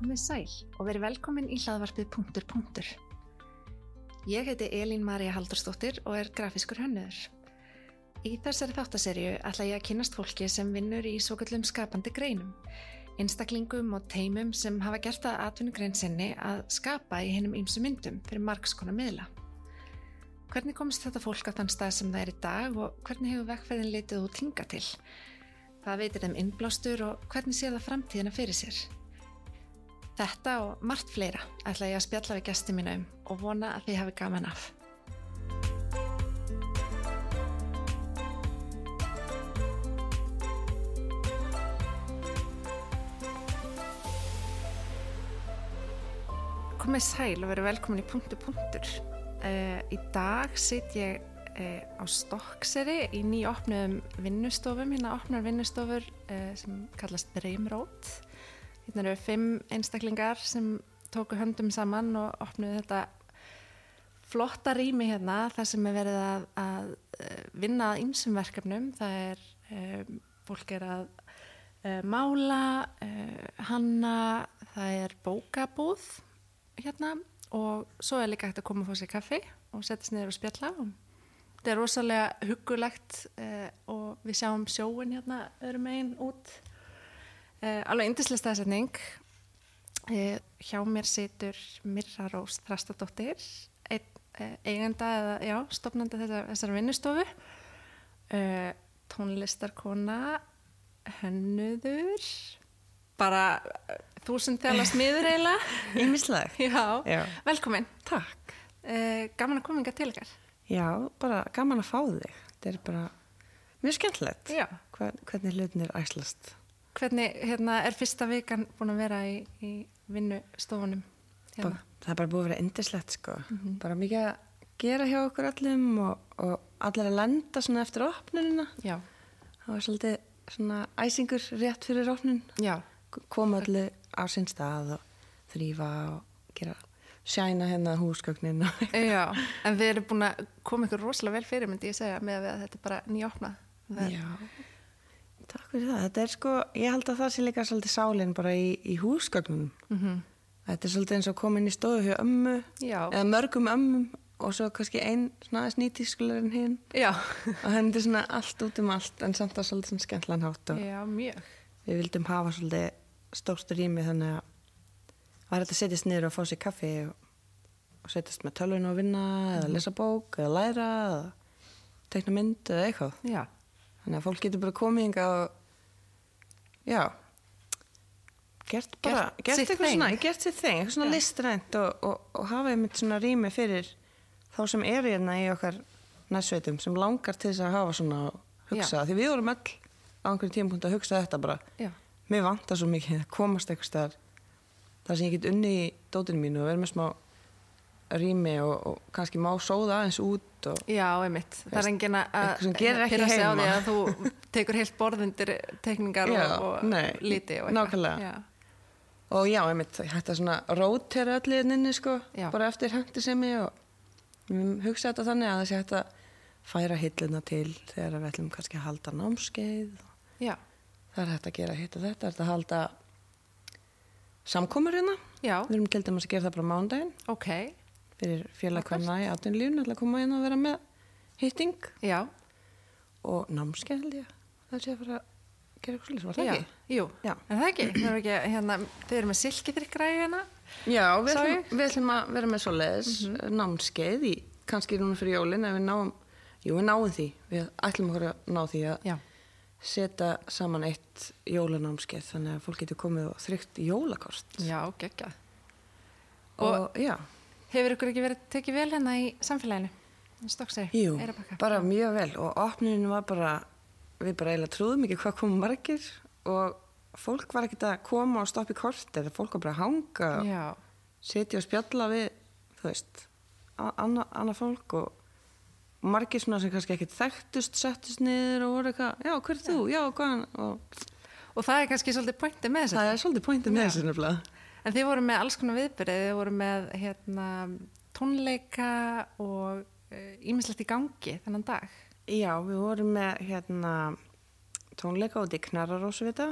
komið sæl og verið velkomin í hlaðvarpið punktur punktur. Ég heiti Elín Maria Haldurstóttir og er grafiskur hönnöður. Í þessari þáttaserju ætla ég að kynast fólki sem vinnur í svo kallum skapandi greinum, einstaklingum og teimum sem hafa gert það atvinnugrein sinni að skapa í hennum ýmsu myndum fyrir margskona miðla. Hvernig komst þetta fólk á þann stað sem það er í dag og hvernig hefur vegferðin litið út hinga til? Hvað veitir þeim innblástur og hvernig sér það framtíðina fyrir sér? Þetta og margt fleira ætla ég að spjalla við gæsti mínu um og vona að þið hafi gaman af. Komið sæl og verið velkomin í punktu punktur. Uh, í dag sit ég uh, á Stokkseri í nýopnuðum vinnustofum, hérna opnar vinnustofur uh, sem kallast Breimrót. Hérna eru fimm einstaklingar sem tóku höndum saman og opnuðu þetta flotta rými hérna þar sem er verið að, að eh, vinna að ýmsum verkefnum. Það er, um, fólk er að uh, mála, uh, hanna, það er bókabúð hérna og svo er líka hægt að koma og fá sér kaffi og setjast niður og spjalla og Þetta er rosalega huggulegt uh, og við sjáum sjóin hérna öðrum einn út. Uh, alveg yndislega staðsetning. Uh, hjá mér situr Mirra Rós Þrastadóttir, einn uh, eigenda eða já, stopnandi þessar, þessar vinnustofu, uh, tónlistarkona, hönnuður, bara uh, þúsund þjála smiður eiginlega. Ímisleg. já. Já. velkomin. Takk. Uh, gaman að koma kominga til ykkar. Já, bara gaman að fá þig. Þetta er bara mjög skemmtilegt. Já. Hver, hvernig hlutinir æslast. Hvernig hérna, er fyrsta vikan búin að vera í, í vinnustofunum? Hérna? Bara- Það er bara búið að vera indislegt sko. Mhm. Bara mikið að gera hjá okkur allum og, og allir að lenda svona eftir opnunina. Já. Það var svolítið svona æsingur rétt fyrir opnun. Já. K- Koma allir á sinn stað og þrýfa og gera sjæna hérna húsgögnin og Já, en við erum búin að koma ykkur rosalega vel fyrir, myndi ég segja, með að við að þetta er bara nýjófnað. Já, takk fyrir það. Þetta er sko, ég held að það sé líka svolítið sálinn bara í, í húsgögnum. Mhm. Þetta er svolítið eins og komin í stofu hjá ömmu, Já. eða mörgum ömmum og svo kannski ein svona aðeins nýtískulegur en hinn. Já. Og henni er svona allt út um allt en samt að svolítið svona skemmtlan hátt og Já, mjög. við vildum hafa svolítið stórt rými þannig að var þetta að setjast niður og fá sér kaffi og, og setjast með tölvun og vinna eða lesa bók eða læra eða tekna mynd eða eitthvað. Já. Þannig að fólk getur bara komið hinga og já gert bara, Gert gert, sitt eitthvað þing. svona gert sér þeng, eitthvað svona Já. listrænt og, og, og hafa einmitt svona rými fyrir þá sem er hérna í okkar næsveitum sem langar til þess að hafa svona og hugsa, því við vorum öll á einhverjum tímapunkt að hugsa þetta bara Já. mér vantar svo mikið að komast eitthvað staðar þar sem ég get unni í dótinu mínu og verið með smá rými og, og kannski má sóða aðeins út og Já, einmitt. Það er Veist, engin að eitthvað sem gerir að ekki pirra sig á heima. því að þú tekur heilt borð undir tekningar Já, og, og nei, liti og nákvæmlega. Já. Og já, einmitt, hætti að svona rótera öllu hérna inni, sko, Já. bara eftir hendi sem ég og mm, hugsa þetta þannig að þessi hætti að færa hilluna til þegar við ætlum kannski að halda námskeið. Já. Það er hægt að gera hitt og þetta, er hægt að halda samkomur hérna. Já, Við erum til dæmis að gera það bara mándaginn ok. fyrir félagkvæmna í atvinnlífun, ætla að koma hérna og vera með hitting Já. og námskeið held ég. Það sé að fara að gera eitthvað svolítið, var það Já. ekki? Jú. Já. Er það ekki? Það er ekki, að- hérna, þið eru með silkidrykkraði hérna. Já, við Sá ætlum, ég? við ætlum að vera með svoleiðis mm Mhm. námskeið í kannski núna fyrir jólin ef við náum, jú við náum því við ætlum okkur að ná því að Já. setja saman eitt jólanámskeið þannig að fólk getur komið og þrygt jólakort Já, geggjað. og, já, Hefur ykkur ekki verið tekið vel hérna í samfélaginu? Stokksegi, jú, Eyrarbakka. bara mjög vel og opnunin var bara við bara eiginlega trúðum ekki hvað komum margir og fólk var ekkert að koma og stoppa í kort eða fólk var bara að hanga og Já, setja og spjalla við þú veist, a- anna- annað fólk og margir svona sem kannski ekkert þekktust, settust niður og voru eitthvað, já, hver er þú, já, hvaðan og og það er kannski svolítið pointi með þessu. það er svolítið pointið með þessu nefnilega En þið voru með alls konar viðbyrðið, þið voru með hérna, tónleika og ímislegt í gangi þennan dag. Já, við vorum með hérna tónleika út í Knarrarósvita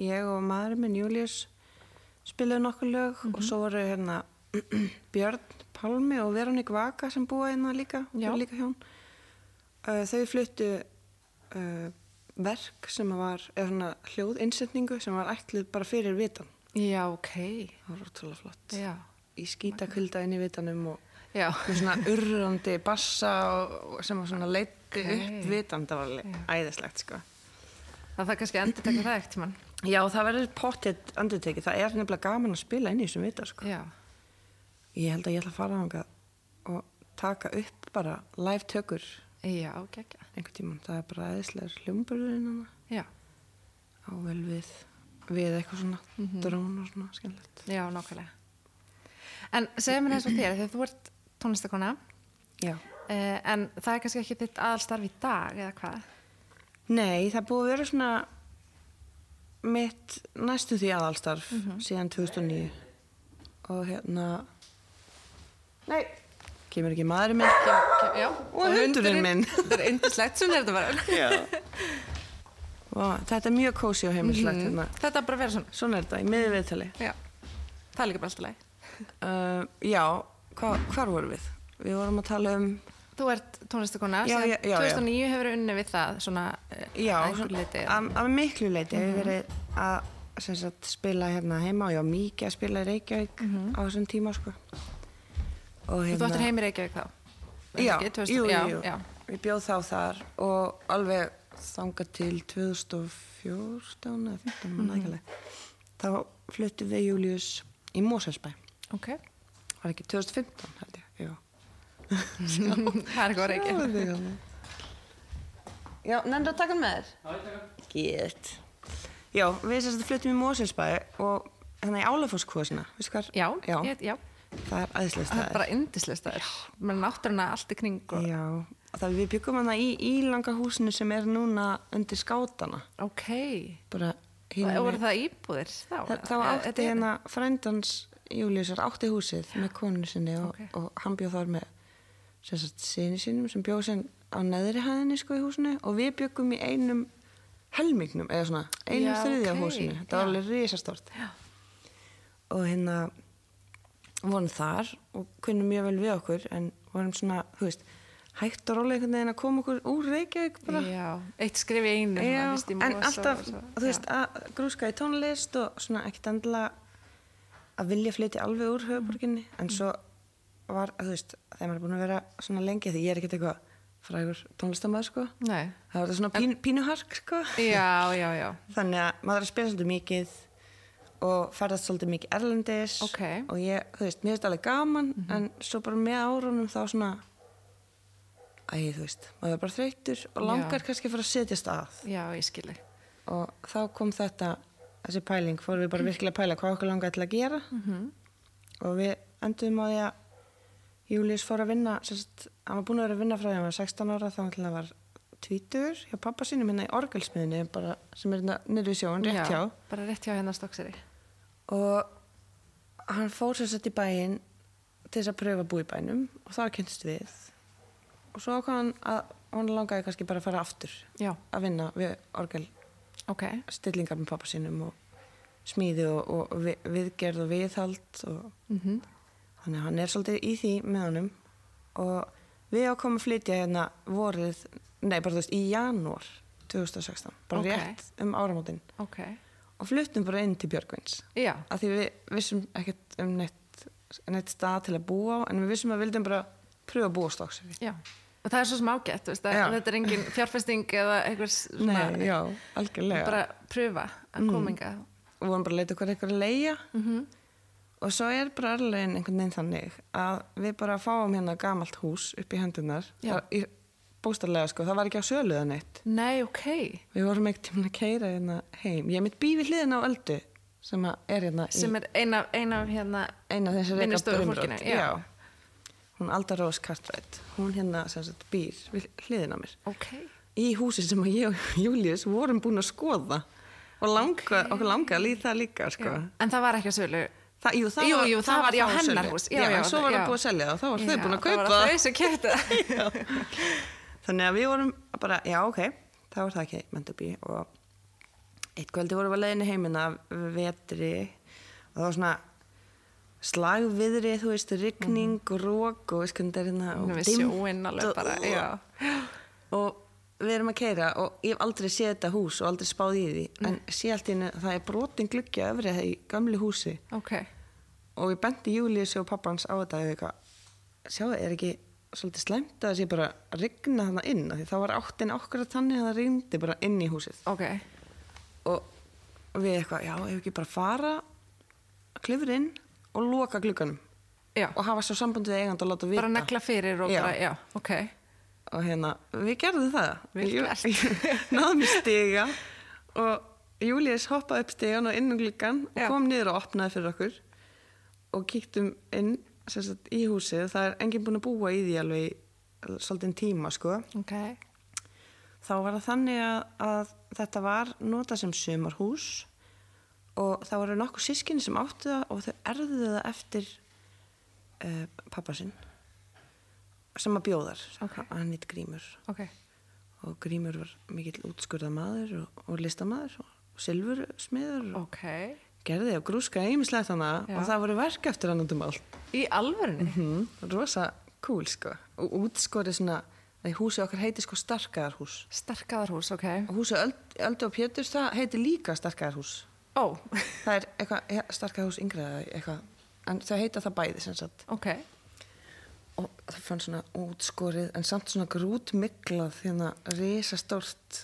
ég og maðurinn minn Július spiluðu nokkur lög og Mhm. svo voru hérna Björn Pálmi og Veronik Vaka sem búa hérna líka, Já. eru líka hjón uh, þau fluttu uh, verk sem að var eða svona hljóðinsetningu sem var ætluð bara fyrir vitan Já, ok. það var ótrúlega flott Já. í skítakvilda inn í vitanum og Já. með svona urrandi bassa og, og sem var svona leiti Ok. upp vitan það var alveg æðislegt sko Það þarf kannski að endur taka það ekkert mann. já það verður pottet andurtekið það er nefnilega gaman að spila inn í þessum vita sko Já. Ég held að ég ætla að fara þangað og taka upp bara live tökur Já, geggja. einhvern tímann. Það er bara aðeinslegur hljómburðurinn hana Já. á vel við, við eitthvað svona Mhm. drón og svona skemmtilegt. Já, nákvæmlega. En segja mér eins og þér, þegar þú ert tónlistakona, Já. eh, en það er kannski ekki þitt aðalstarf í dag, eða hvað? Nei, það er búið að vera svona mitt næstu því aðalstarf Mhm. síðan 2009 og hérna Nei, kemur ekki maðurinn minn Já. og hundurinn minn Þetta er yndislegt, svona er þetta bara. Já Vá, Þetta er mjög kósi og heimilislegt Mhm. hérna. Þetta er bara að vera svona. Svona er þetta í miðið viðtali Já. Það er líka bara alltaf leið. Uh, já, hva, hvar vorum við? Við vorum að tala um, Þú ert tónlistakona, Já, síðan já, já, já. 2009 hefur verið unni við það, svona, eh, já, að einhverju svona- leyti. Mhm. að að miklu leiti mm -hmm. Við verið að sem sagt, spila hérna heima og ég var mikið að spila í Reykjavík á þessum tíma sko. Og Mhm. Þú þú ættir heim í Reykjavík þá? Er það hérna. Já, ekki? 2000 jú, já, jú, jú. já. Ég bjóð þá þar og alveg þangað til 2014 eða 15 Mhm. mm -hmm. Þá fluttum við Július í Mósensbæ Ok, Var ekki 2015 held ég, já það er ekki orðið ekki. Já, nefndu að taka hann með þér? Gett Já, við sérst að flyttum í Moselsbæ og hérna í Álafosskvöðsina, veistu hvað? Já, Já, ég- já, það er aðeinslega það er staðir bara yndislegt það er. Mér náttur hana allt í kring og... Já, og það við byggum hana í ílanga húsinu sem er núna undir skátana Ok, bara og hinum voru það íbúðir þá? Eh, Þa- Þá eða- átti eða- hérna frændans Júliusar átti húsið með konu sinni og, Ok. og hann bjóð þar með sem sagt, sinni sínum sem bjóð sem á neðri hæðinni sko í húsinu og við bjögum í einum helmingnum eða svona einum Já, ok, þriðja okay. húsinu þetta var já. alveg risastort já. og hérna vorum þar og kunnum mjög vel við okkur en vorum svona, þú veist hægt og rólega einhvern veginn að koma okkur úr Reykjavík bara Já, eitt skrif í einu. svona, Já, fyrst í en mos og- alltaf, og svo- þú veist, að grúska í tónlist og svona ekkert endla að vilja flytja alveg úr höfuborginni Mm. en svo var, þú veist, þegar maður er búin að vera svona lengi því ég er ekkert eitthvað frægur tónlistamæður, sko Já. Nei, það var þetta svona pín, pínuhark, sko já, já, já. þannig að maður er að spila svolítið mikið og ferðast svolítið mikið erlendis Ok. Mhm. og ég, þú veist, mér finnst alveg gaman en svo bara með árunum þá svona æ, þú veist, maður er bara þreyttur og Já. langar kannski að fara að setjast að Já, ég skilji. og þá kom þetta þessi pæling, fórum við bara virkilega að pæla hvað okkur langaði til að gera -hmm. og við enduðum á því að Július fór að vinna sem sagt, hann var búin að vera að vinna frá því að hann var 16 ára þá hann var tvítur hjá pappa sínum hérna í orgelsmiðinu bara, sem er hérna niður í sjóun, rétt hjá Bara rétt hjá hérna stokkseri. og hann fór sér sett í bæinn til þess að pröfa að búa í bænum og það kynst við og svo ákvað hann að hann langaði kannski bara að fara aftur Já, að vinna við orgel ok. stillingar með pappa sínum og smíði og, og vi, viðgerð og viðhald og Mm þannig að hann er svolítið í því með honum og við ákomum að flytja hérna vorið, nei bara þú veist í janúar 2016, bara Ok. rétt um áramótin Ok, og fluttum bara inn til Björgvins já, af því við vissum ekkert um neitt, neitt stað til að búa á en við vissum að við vildum bara pröfa að búa stóksir já. Og það er svo sem ágætt, þú veist, að Já. þetta er engin fjárfesting eða einhvers svona... Nei, já, algjörlega Bara pröfa að kominga. Mm. og vorum bara að leita okkur eitthvað að leia Mhm. og svo er bara örlegin einhvern veginn þannig að við bara fáum hérna gamalt hús upp í hendunar Já. bóstarlega sko, það var ekki á söluðan eitt Nei, ok. við vorum ekkert tíma að keira hérna heim ég er mitt bífi hliðin á öldu sem að er hérna Sem er eina af, ein af hérna... í eina þessi Vinnustofu fólkinu, já. hún Alda Rós Kartrætt hún hérna sem sagt býr við hliðin á mér Ok. í húsi sem að ég og Július vorum búin að skoða og langa, okkur langa að líta líka sko. En það var ekki að sölu. Þa, jú, það Jú, var, jú, það var- já, á hennar sölu. hús. Já, Já, já, en svo var já. það búið að selja það, þá var þau Já, búin að Það kaupa var það. þau sem kefti það. Þannig að við vorum bara, já, ok, þá var það ekki Mendubi og eitt kvöldi vorum við að leiðinni heiminn af vetri og það var svona slagviðri, þú veist, rigning og rók og veist hvernig þetta er hérna og Nú við dimmt sjóinn alveg og- bara, já. og við erum að keira og ég hef aldrei séð þetta hús og aldrei spáð í því en sé allt í henni að það er brotin gluggja öfrið í gamli húsi Ok, og ég benti Július og pappans á þetta og ég eitthvað, sjá það er ekki svolítið slæmt að það sé bara að rigna þarna inn af því þá var áttin okkur að þannig að það rigndi bara inn í húsið ok. og við eitthvað, já, ef ekki bara fara klifur inn og loka glugganum Já, og hafa svo samband við eigandi og láta vita bara negla fyrir og Já. bara, já, ok. og hérna, við gerðum það Vel Jú- gert. ég- náðum í stiga og Július hoppaði upp stigan og inn um gluggan og Já. kom niður og opnaði fyrir okkur og kíktum inn sem sagt, í húsið, það er enginn búin að búa í því alveg í svolítinn tíma sko. Ok, þá var það þannig að, að þetta var notað sem sumarhús og það voru nokkuð sískinni sem áttu það og þau erðuðu það eftir uh, pappa sinn sem að bjóðar Ok. hann nýtt grímur ok, og Grímur var mikill útskurða maður og, og listamaður og, og silfursmiður og ok. gerði og grúska ýmislegt hana Já. og það voru verk eftir hann út um allt Í alvörunni? mm, rosa cool sko og útskorið svona að húsið okkar heiti sko starkaðarhús Starkaðarhús, ok. og húsið Öld, Öldu og Péturs það heiti líka starkaðarhús Ó, það er eitthvað ja, starkaðarhús yngra eða eitthvað en þau heita það bæði sem sagt ok. og það fann svona útskorið en samt svona grútmiklað hérna risastórt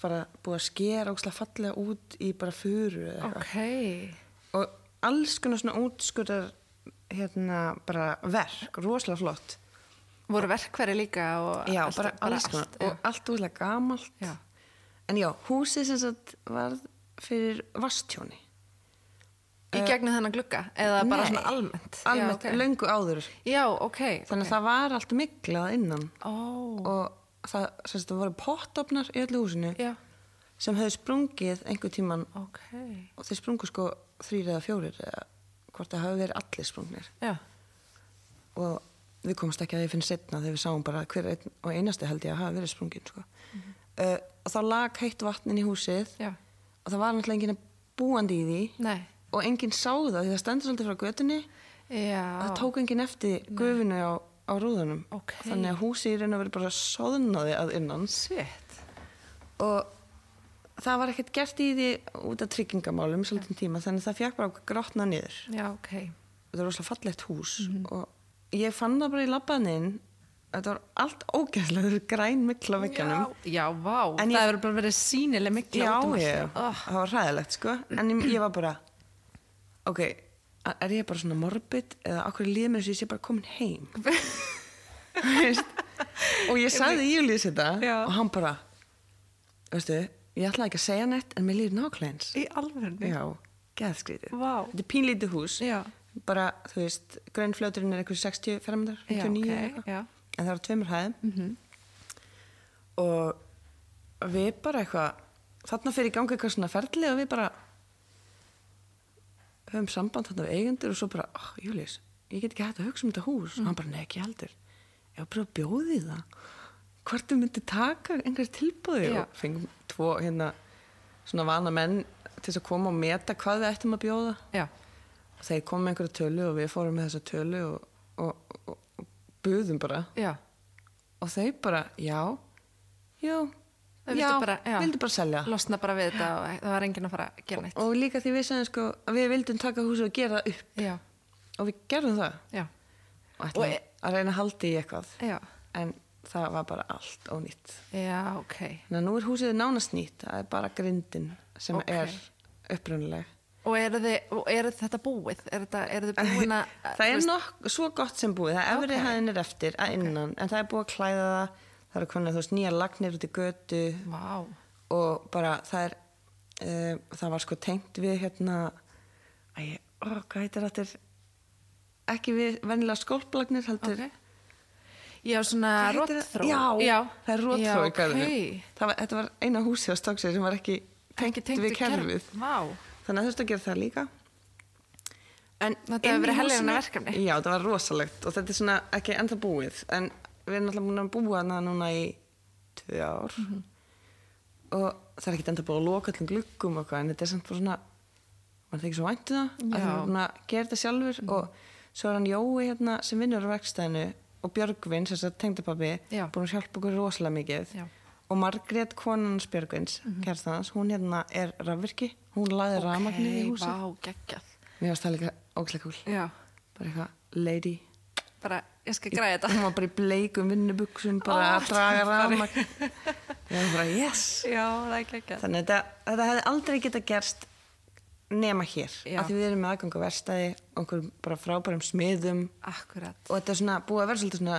bara búið að skera ógslag fallega út í bara furu eða eitthvað Ok, og alls konar svona útskurðar hérna bara verk rosalega flott voru verkveri líka og já, allt- bara, alls konar allt, já. og allt úrlega gamalt Já. en já, húsið sem sagt var fyrir vastjóni Í gegnum þennan glugga eða bara eh, Nei, svona almennt? almennt, já, ok. löngu áður Já, ok. þannig að það var allt miklað innan Ó, og það, sem sagt, það voru pottopnar í öllu húsinu já, sem höfðu sprungið einhver tíman ok. og þeir sprungu sko þrýr eða fjórir eða hvort það hafi verið allir sprungnir Já, og við komumst ekki að því fyrir setna þegar við sáum bara hver einn og einasti held ég að hafa verið sprungin sko. uh, og þá lag heitt vatnin í húsið Mhm. já, og það var náttúrulega enginn búandi í því nei, og enginn sá það því það stendur svolítið frá götunni já. það tók enginn eftir gufinu á, á rúðunum Ok. þannig að húsið í raun og verið bara soðnaði að innan Svett. og það var ekkert gert í því út af tryggingamálum svolítið tíma þannig að það fjakk bara okkur grotna niður Já, ok. þetta var rosalega fallegt hús Mhm. og ég fann það bara í labbanin þetta var allt ógæslega þetta var græn mikla vekkjanum Já, já, vá. En það ég- hefur bara verið sínileg miklu já, út um ég, Oh, það var hræðilegt sko en ég, ég var bara ok, a- er ég bara svona morbid eða okkur líður mér eins og ég sé bara komin heim Veist? og ég sagði Július þetta Já. og hann bara veistu, ég ætlaði ekki að segja neitt en mér líður nákvæmleins í alvörni. já, geðskrítið Vá. þetta er pínlítið hús Já. bara, þú veist, grönnflöturinn er eitthvað 60 ferramindar, Já, 59 ok, eitthvað. já. en það var tveimur hæðum og við bara eitthvað þarna fyrir í gangi eitthvað svona ferli og við bara höfum samband þarna við eigendur og svo bara, oh, Július ég get ekki hægt að hugsa um þetta hús og hann bara, nei ekki heldur, ég var bara að bjóði það hvort þú myndir taka einhver tilbúði Já. og fengum tvo hérna svona vana menn til þess að koma og meta hvað við ættum að bjóða Já, þeir komum með einhverja tölu og við fórum með þessa tölu og, og, og, og buðum bara já, og þeir bara, já já, Þau vildu bara- já. vildu bara selja losna bara við þetta og það var enginn að fara að gera neitt. og líka því við sagðum sko að við vildum taka húsið og gera það upp Já, og við gerðum það já, og ætlum Og e- að reyna að halda í eitthvað já, en það var bara allt ónýtt já, ok. þannig að nú er húsið nánast nýtt það er bara grindin sem Ok. er upprunaleg Og eru, þið, og eru þetta búið? Er þetta, eru þið búin að... það er nokk svo gott sem búið það er efri Ok. hæðin er eftir að innan en það er búið að klæða það það eru konar þú veist nýjar lagnir út í götu Vá, og bara það er uh, það var sko tengt við hérna æ, ó, hvað heitir þetta ekki við vennilega skólplagnir heldur ok. Já, svona Hvað heitir það? rótþró. já, það er rótþró Já, í garðinu ok. Það var- þetta var eina húsið á stóksið sem var ekki tengt, Ekki tengt við kerfið Vá, þannig að þurftu að gera það líka en Þetta hefur inn í verið heljarinnar húsinu- verkefni. já, þetta var rosalegt og þetta er svona ekki enda búið en við erum alltaf búin að búa hana núna í tvö ár Mhm. og það er ekki enda búið að loka allum gluggum og hvað en þetta er samt bara svona mann þykir svo væntu það að Já. Mhm. hann er búin að gera þetta sjálfur og svo er hann Jói hérna sem vinnur á verkstæðinu og Björgvin sem sagt tengdapabbi Já. búin að hjálpa okkur rosalega mikið Já. Mhm. og Margrét konans Björgvins mm hans, hún hérna er rafvirki hún laði okay, rafmagnir í húsi vá, geggjað. mér varst það líka ókslega kúl Já, bara eitthvað lady bara, ég skal græða þetta. hún var bara í bleikum vinnubuxum bara Ó, að draga það var- rafmagn ég var bara yes Já, það er geggjað. Þannig að þetta, þetta hefði aldrei geta gerst nema hér, Já. af því við erum með aðgang á verstaði, einhverjum bara frábærum smiðum Akkurat. og þetta er svona búið að vera svolítið svona,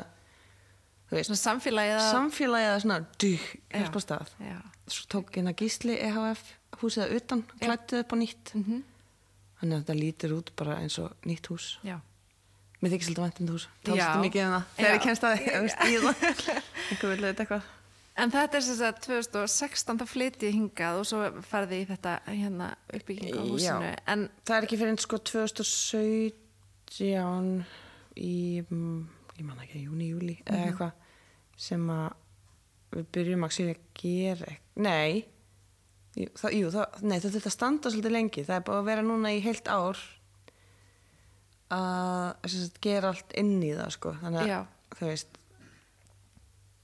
þú veist, Svona samfélagið að... samfélagið að svona dýh, Já. hjálpa stað. Já, Svo tók hérna gísli EHF húsið að utan, klættið upp á nýtt. Mhm. -hmm. Þannig að þetta lítir út bara eins og nýtt hús. já. Mér þykir svolítið vænt um þetta hús, Já. tálstu mikið um það. Þegar Já. ég kennst að því, ég veist, ég það. Einhver vil þetta eitthvað. En þetta er sem sagt 2016 það flytti hingað og svo farði í þetta hérna uppbyggingu á Já. húsinu. En Það er ekki fyrir en sko 2017 í, mm, ég man ekki, júni, júli eða eitthvað sem að við byrjum að segja að gera eitthvað. Nei, jú, það, jú, það, nei, það þurfti að standa svolítið lengi. Það er bara að vera núna í heilt ár að sem sagt, gera allt inn í það sko. Þannig Já. að þú veist,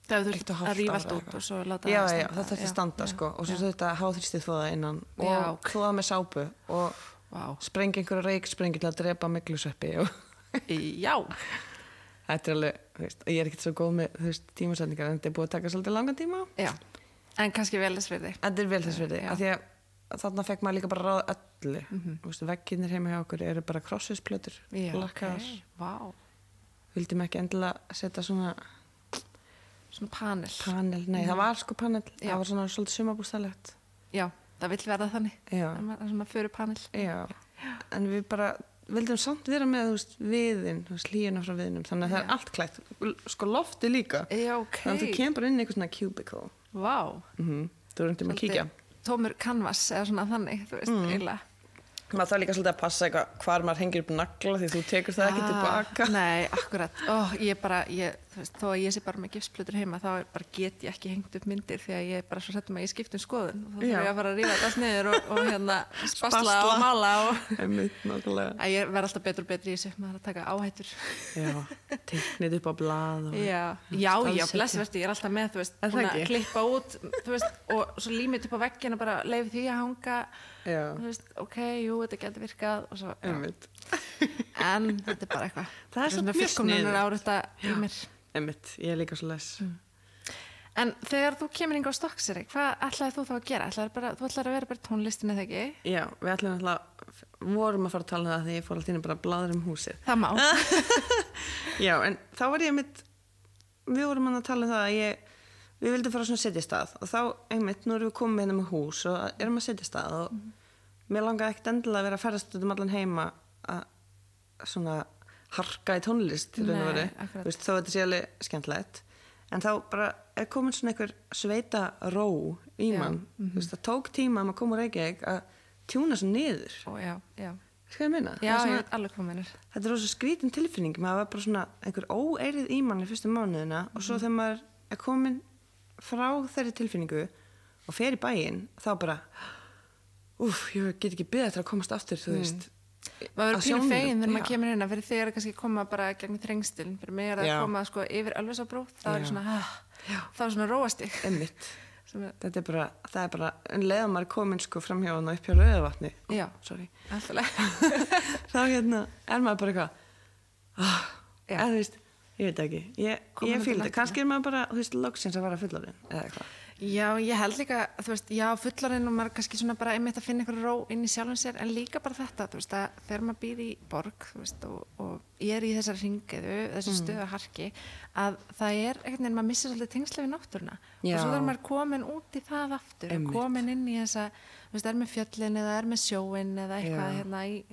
það hefur eitt og þurft hálft að rífa ár allt út eða eitthvað. og svo láta já, það já, það þurfti að standa sko. Og svo þurfti að háþrýstið þóða innan Já, og ok. þóða með sápu og Vá, spreng einhverja reiksprengi til að drepa myglusveppi og já, þetta er alveg, þú veist, ég er ekkert svo góð með þú veist, tímasetningar en þetta er búið að taka svolítið langan tíma já. En kannski vel þess við þig. þetta er vel þess verði, Já. af því að þarna fekk maður líka bara ráð öllu mm -hmm. vegginir heima hjá okkur eru bara krossisplötur lakkaðar, Vá, vildum ekki endilega setja svona svona panel. panel, nei það var sko panel Já. það var svona svolítið sumabústælegt já, það vill verða þannig. já, Það er svona fyrir panel. já, en við bara vildum samt vera með, þú veist, viðin þú veist, hlýjuna frá viðinum, þannig að það er allt klætt sko lofti líka Já, ok. Þannig að þú kemur bara inn í eitthvað svona cubicle Vá. mm Þú erum til að kíkja Mm. Tómur canvas eða svona þannig, þú veist, eiginlega. Maður þarf líka svolítið að passa eitthvað hvar maður hengir upp nagla því þú tekur það ekki Ah, tilbaka Nei, akkurat, Ó, ég bara ég, þú veist, þó að ég sé bara með gipsplötur heima þá er bara get ég ekki hengt upp myndir því að ég er bara svo settum að ég skipt um skoðun og þá Já. þarf ég að fara að rífa þetta niður og, og hérna spasla Spasla. og mála og Einmitt, nákvæmlega að ég verð alltaf betur og betri í þessu maður er að taka áhættur Já, teiknið upp á blað og... Já, já, já Staðsetja. blessverti, ég er alltaf með þú veist, Er það búin að ekki? klippa út þú veist, og svo límit upp á veggina bara leif því að hanga Já, þú veist, ok, jú, þetta getur virkað og svo, já. einmitt en þetta er bara eitthvað Það er samt mjög fullkomnunar sniðugt. árið í mér Einmitt, ég er líka svo les En þegar þú kemur yngi á Stokkseri, hvað ætlaði þú þá að gera? Ætlaði bara, þú ætlaði að vera bara í tónlistinni þegar ekki? Já, við ætlum alltaf vorum að fara að tala um það því ég fór alltaf inn bara að blaður um húsið Það má. Já, en þá var ég einmitt við vorum hann að tala um það að ég við vildum fara á svona setjastað og þá einmitt, nú erum við komið hérna með hús og erum að setjastað og Mhm. mér langaði ekkert endilega að vera að ferðast út um allan heima að svona harka í tónlist í raun Nei, og veru. akkurat. Þú veist, þó þetta sé alveg skemmtilegt en þá bara er komin svona einhver sveita ró Já, í mhm. mann þú veist, það tók tíma að maður kom úr Reykjavík að tjúna svo niður Ó, já, já. Skal ég meina? Það Já, er svona- ég veit alveg hvað mennir. þetta er rosa skrítin tilfinning maður var bara svona einhver óeirið í manni fyrstu mánuðina og svo þegar maður er komin frá þeirri tilfinningu og fer í bæinn þá bara uff, ég get ekki beða eftir að komast aftur þú veist Maður Að verður pínu sjónum, fegin þegar já. maður kemur hérna, fyrir þig er kannski að koma bara gegn þrengstilin, fyrir mig er það Já. að koma sko yfir alveg svo brótt, það er Já. svona, ah, það er svona róastig. einmitt, Sem er, þetta er bara það er bara, en leiða maður er komin sko framhjá hann og upp hjá rauðavatni já, sorry, alltaf leið. þá hérna er maður bara eitthvað ah, Já. eða þú veist, ég veit ekki ég, Komin ég undir fíl læknum. þetta, kannski er maður bara þú veist, loksins að vara fullorinn eða eitthvað Já, ég held líka, þú veist, já, fullarinn og maður kannski svona bara einmitt að finna einhverju ró inn í sjálfum sér, en líka bara þetta, þú veist, að þegar maður býr í borg, þú veist, og, og ég er í þessar ringiðu, Mm. þessu stöðu harki, að það er, einhvern veginn, maður missir svolítið tengsla við náttúruna, Já. og svo þarf maður komin út í það aftur, Einmitt. og komin inn í þessa, þú veist, er með fjöllin eða er með sjóin eða eitthvað, Já. hérna, í,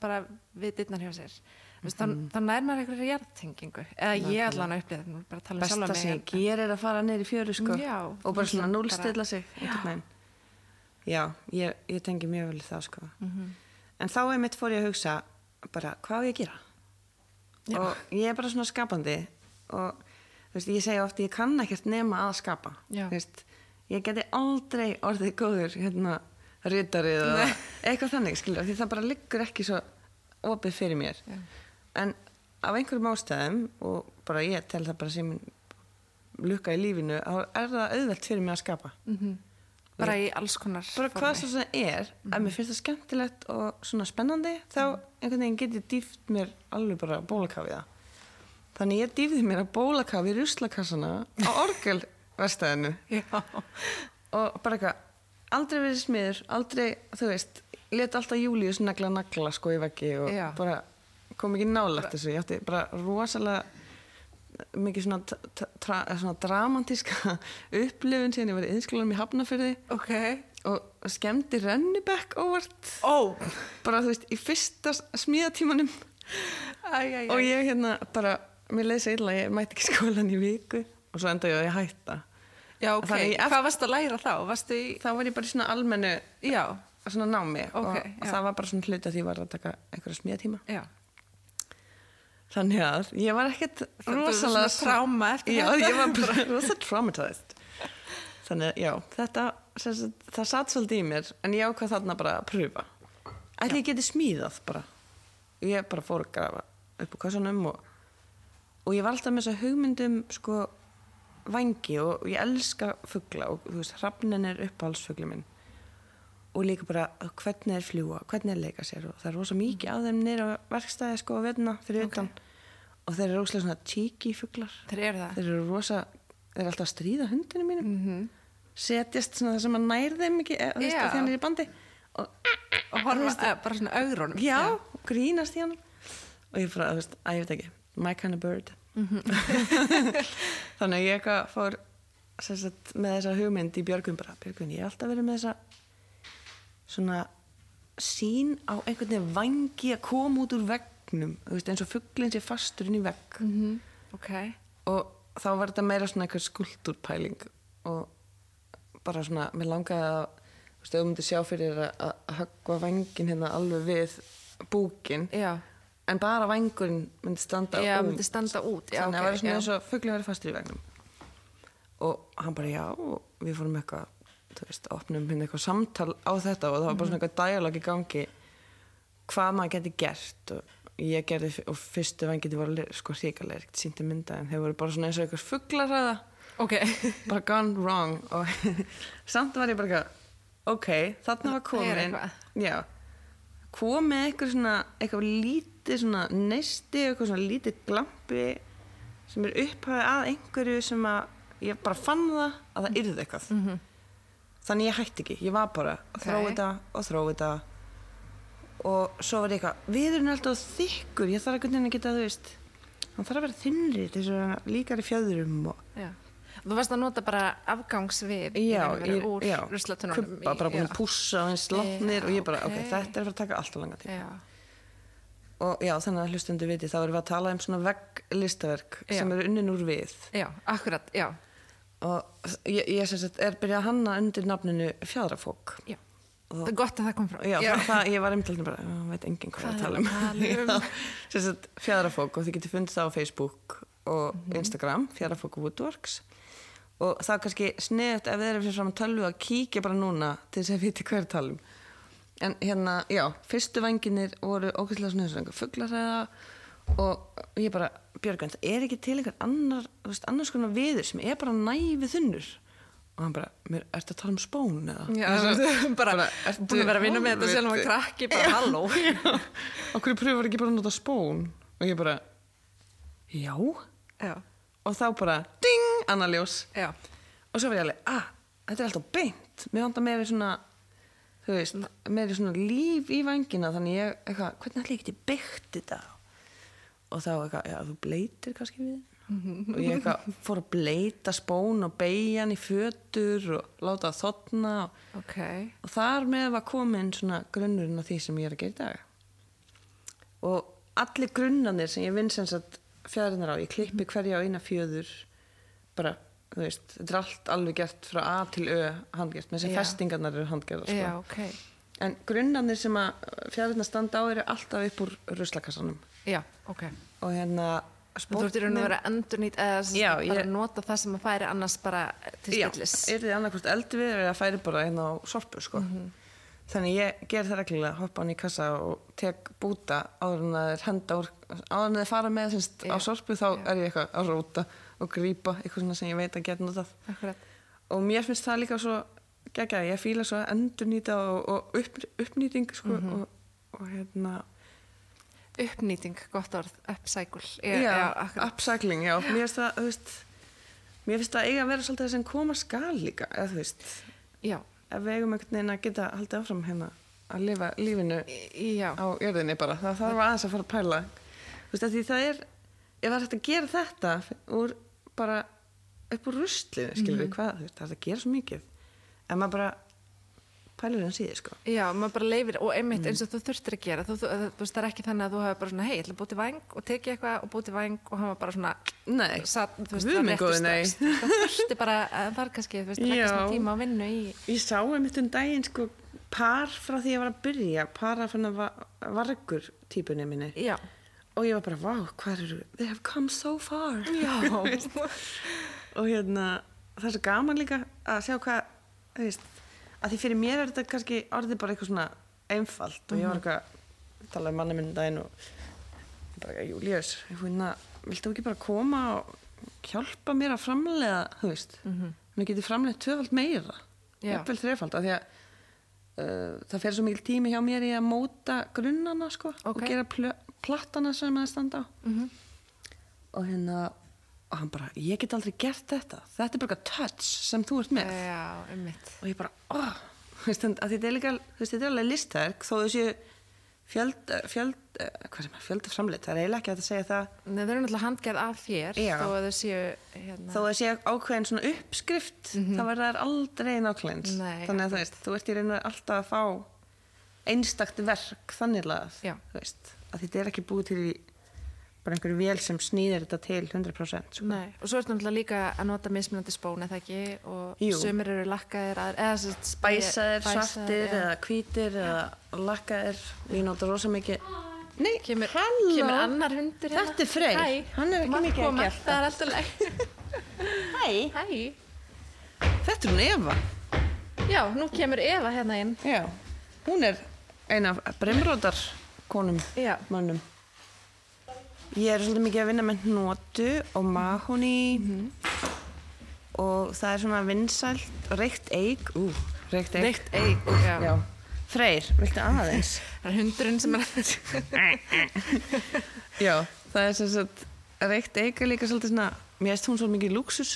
bara við dittnar hjá sér. Þú veist, Mm-hmm. mm -hmm. þá nær maður einhverju jarðtengingu, eða ég allan að upplýða, nú er bara að tala um besta sjálfa mig, sem en- ég ger er að fara neyri í fjöru sko Já, og bara svona bara- núlstilla sig einhvern veginn já, ég, ég tengi mjög vel við það sko Mhm. en þá einmitt fór ég að hugsa bara hvað á ég að gera og ég er bara svona skapandi og þú veist, ég segja oft ég kann ekkert nema að skapa Já. Þú veist, ég geti aldrei orðið góður hérna rítarið eða eitthvað þannig skilur, því það bara liggur ekki svo opið fyrir mér Já. en af einhverjum ástæðum og bara ég tel það bara sem lukka í lífinu, þá er það auðvelt fyrir mér að skapa bara í alls konar bara hvað svo sem það er, ef mér finnst það skemmtilegt og svona spennandi, þá einhvern veginn get ég dýft mér alveg bara bólakafið það þannig ég dýfði mér að bólakafi í ruslakassana á orgelverstaðinu Já. og bara eitthvað, aldrei verið smiður aldrei, þú veist, let alltaf Július negla nagla sko í veggi og Já. bara kom ekki nálægt þessu ég átti bara rosalega mikið svona, t- t- tra, eða svona dramatíska upplifun síðan ég var í yðskólanum í Hafnafyrði ok og skemmdi rennibekk óvart ó, bara þú veist, í fyrsta s- smíðatímanum æjæjæ og ég hérna bara, mér leiði svo illa ég mætti ekki í skólan í viku og svo enda ég að ég hætta já, ok, Þannig ég- hvað varst að læra þá? varstu í, þá var ég bara í svona almennu já, svona námi Ok, og, og já. það var bara svona hluti að því ég var að taka einhverja smíðatíma já þannig að ég var ekkert þú hefur rosalega svona tráma eftir já, þetta. ég var bara rosalega traumatized þannig að já, þetta sem sagt, það satt svolítið í mér en ég ákvað þarna bara að pröfa ætli ég geti smíðað bara ég bara fór að grafa upp á kassanum og, og ég var alltaf með þess að hugmyndum sko vangi og ég elska fugla og þú veist, hrafnin er uppáhaldsfugli minn og líka bara uh, hvernig er fljúa, hvernig er leika sér og það er rosa mikið á þeim nýra verkstæði sko að verna fyrir utan og þeir eru rosalega svona tíki fuglar þeir eru það þeir eru rosa, þeir eru alltaf að stríða hundinu mínum Mhm. setjast svona það sem að nær þeim ekki eða, þú Já. veist, yeah. þegar hann er í bandi og og horfa eh, bara svona augrónum já, grínast í hann og ég bara, þú veist, að ég veit ekki my kind of bird þannig að ég eitthvað fór sem sagt, með þessa hugmynd í Björgun bara, Björgun, ég hef alltaf verið með þessa svona sín á einhvern veginn vangi að koma út úr veggnum þú veist, eins og fuglinn sé fastur inn í vegg Mhm. ok, og þá var þetta meira svona eitthvað skuldurpæling og bara svona, mér langaði að þú veist, ef þú myndir sjá fyrir þér að, að höggva vangin hérna alveg við búkin, já en bara vangurinn myndi standa já, út myndi standa út já, þannig að það var ok, svona já. eins og fuglinn verið fastur í vegnum og hann bara já og við fórum eitthvað þú veist, opnum hérna eitthvað samtal á þetta og það var bara Mhm. svona eitthvað dialog í gangi hvað maður geti gert og ég gerði, og fyrstu vangið voru le- sko hrikalegt, sýndi mynda en þeir voru bara svona eins og eitthvað fuglaræða ok, bara gone wrong og samt var ég bara eitthvað, ok, þarna Það var er komin eitthvað. já, komið eitthvað svona eitthvað lítið svona neisti eitthvað svona lítið glampi sem er upphafið að einhverju sem að ég bara fann það að það yrði eitthvað Mhm. -hmm. þannig ég hætti ekki, ég var bara að Ok. þróa þetta og þróa þetta og svo var ég eitthvað viðurinn er alltaf þykkur, ég þarf að hvernig að geta þú veist, hann þarf að vera þinnri til þess að hann líkari fjöðrum og já þú varst að nota bara afgangsvið í já, raun og veru, ég- úr já, ruslatunum kubba bara búin að pússa og eins lotnir Já, og ég bara, ok, ok. þetta er að fara að taka allt og langa tíma já, og já, þannig að hlustundu viti, þá erum við að tala um svona vegglistaverk Já. sem eru unnin úr við já, akkurat, já og ég, ég sem sagt, er byrjað að hanna undir nafninu fjadrafók já, það er gott að það kom frá Já, það, það, ég var einmitt bara, "Já, veit enginn hvað Hvað það tala er um. að tala um? Já, Sem sagt, fjadrafók og þið getur fundið það á Facebook og Mhm. Instagram, fjadrafók Woodworks. Og það er kannski sniðt ef þið eru fyrir fram að tölvu að kíkja bara núna til þess að viti hvað er talum. En hérna, já, fyrstu vanginir voru ókvæslega svona eins og einhver fuglaræða og ég bara, Björgan, það er ekki til einhver annar, þú veist, annars konar viður sem er bara næfið þunnur. Og hann bara, mér, ertu að tala um spón eða? Já, Ég svo- bara, ertu búin að vera að vinna með þetta sjálf og Helviti. krakki bara halló Á hverju pröfur ekki bara að nota spón? Og ég bara, já. já, Og þá bara, ding, annar ljós. já, Og svo var ég alveg, ah, þetta er alltaf beint. Mér vantar meiri svona, þú veist, meiri svona líf í vangina. Þannig ég, eitthvað, hvernig ætla ég geti byggt þetta? Og þá eitthvað, já, þú bleitir kannski við. Og ég eitthvað, fór að bleita spón og beigja hann í fötur og láta það þotna. Og, ok og þar með var komin svona grunnurinn af því sem ég er að gera í dag og allir grunnarnir sem ég vinn sem sagt fjæðurinnar á, ég Mhm. klippi hverja á eina fjöður bara, þú veist þetta er allt alveg gert frá A til Ö handgert, með þess að Já. festingarnar eru handgerðar sko. já, ok, en grunnarnir sem að fjæðurinnar standa á eru alltaf upp úr ruslakassanum já, ok og hérna Þú ert í raun að vera endurnýtt eða sem sagt Já, bara ég- nota það sem að færi annars bara til Já, spillis. Mhm. er þið annarkvist eldi við eða færi bara hérna á sorpu sko. þannig ég ger það reglulega hoppa hann í kassa og tek búta áður en það er henda úr áður en það fara með sinst, á Já, sorpu þá er ég eitthvað að róta og grípa eitthvað svona sem ég veit að geta notað akkurat og mér finnst það líka svo geggjað, ég fíla svo endurnýta og, og upp, uppnýting sko, Mhm. og, og hérna uppnýting, gott orð, upcycle já, Ég- akkurat. upcycling, já, mér finnst það þú veist, mér finnst það eiga að vera svolítið það sem koma skal líka, eða þú veist já, ef við eigum einhvern veginn að geta haldið áfram hérna að lifa lífinu í- já, á jörðinni bara, það þarf aðeins að fara að pæla þú veist, af því það er ef það er hægt að gera þetta úr bara upp úr ruslinu skilur Mhm. við hvað, þú veist, það er hægt að gera svo mikið en maður bara pælur hann síði sko já, maður bara leifir og einmitt eins og þú þurftir að gera þú, þú, þú, þú veist, það er ekki þannig að þú hefur bara svona hei, ég ætla að búti væng og tekið eitthvað og búti væng og hafa bara svona Nei, satt, þú veist, guð það minn réttu góður, nei. strax. Þú veist, það þurfti bara að var kannski, þú veist, leggja Já. svona tíma og vinnu í ég sá einmitt um daginn sko par frá því ég var að byrja par af hann vargur típunni minni já, og ég var bara, vá, hvað eru they have come so far já, og hérna, það er svo gaman líka að sjá hvað, þú veist að því fyrir mér er þetta kannski orðið bara eitthvað svona einfalt og ég var eitthvað að tala um manni minn um daginn og ég bara, Július, hérna viltu ekki bara koma og hjálpa mér að framlega, þú veist mm -hmm. mér geti framlega tvöfald meira Já. jafnvel þrefald, af því að uh, það fer svo mikil tími hjá mér í að móta grunnana, sko, og Ókei. gera plö, plattana sem það standa á og hérna og hann bara, ég get aldrei gert þetta þetta er bara eitthvað touch sem þú ert með já, einmitt og ég bara, oh veist, en, að þetta er líka, þú veist, þetta er alveg listverk þó þessi fjöld, fjöld eh, hvað sem er, fjölda framleitt, það er eiginlega ekki hægt að segja það Nei, þau eru náttúrulega handgerð af þér Já. þó að þau séu hérna, þó þessi ákveðin svona uppskrift þá verða þær aldrei nákvæmleins Mhm. Nei, þannig að þú veist, þú ert í rauninu alltaf að fá einstakt verk þannig lagað, Já. þú veist að þetta er ekki búið til í bara einhverju vél sem snýðir þetta til 100% sko. Nei, og svo ertu náttúrulega líka að nota mismunandi spón eða ekki og Jú. sumir eru lakkaðir að, eða sem sagt spæ- bæsaðir, bæsaðir, svartir já. eða hvítir eða lakkaðir ég nota rosa mikið Nei, kemur, halló. kemur annar hundur hérna. Þetta er Freyr. Hæ, Hann er þú ekki mátt mikið að koma. gelta. Það er alltaf leið Hæ. Hæ, Þetta er hún Eva já, nú kemur Eva hérna inn Já. Hún er ein af brimrótar konum Já, mönnum Ég er svolítið mikið að vinna með notu og mahóni og það er svona vinsælt reykt eik Ú, reykt eik reykt eik já. Já. Freyr, viltu aðeins? Það er hundurinn sem er Já, það er sem sagt reykt eik er líka svolítið svona mér veist hún svo mikið lúksus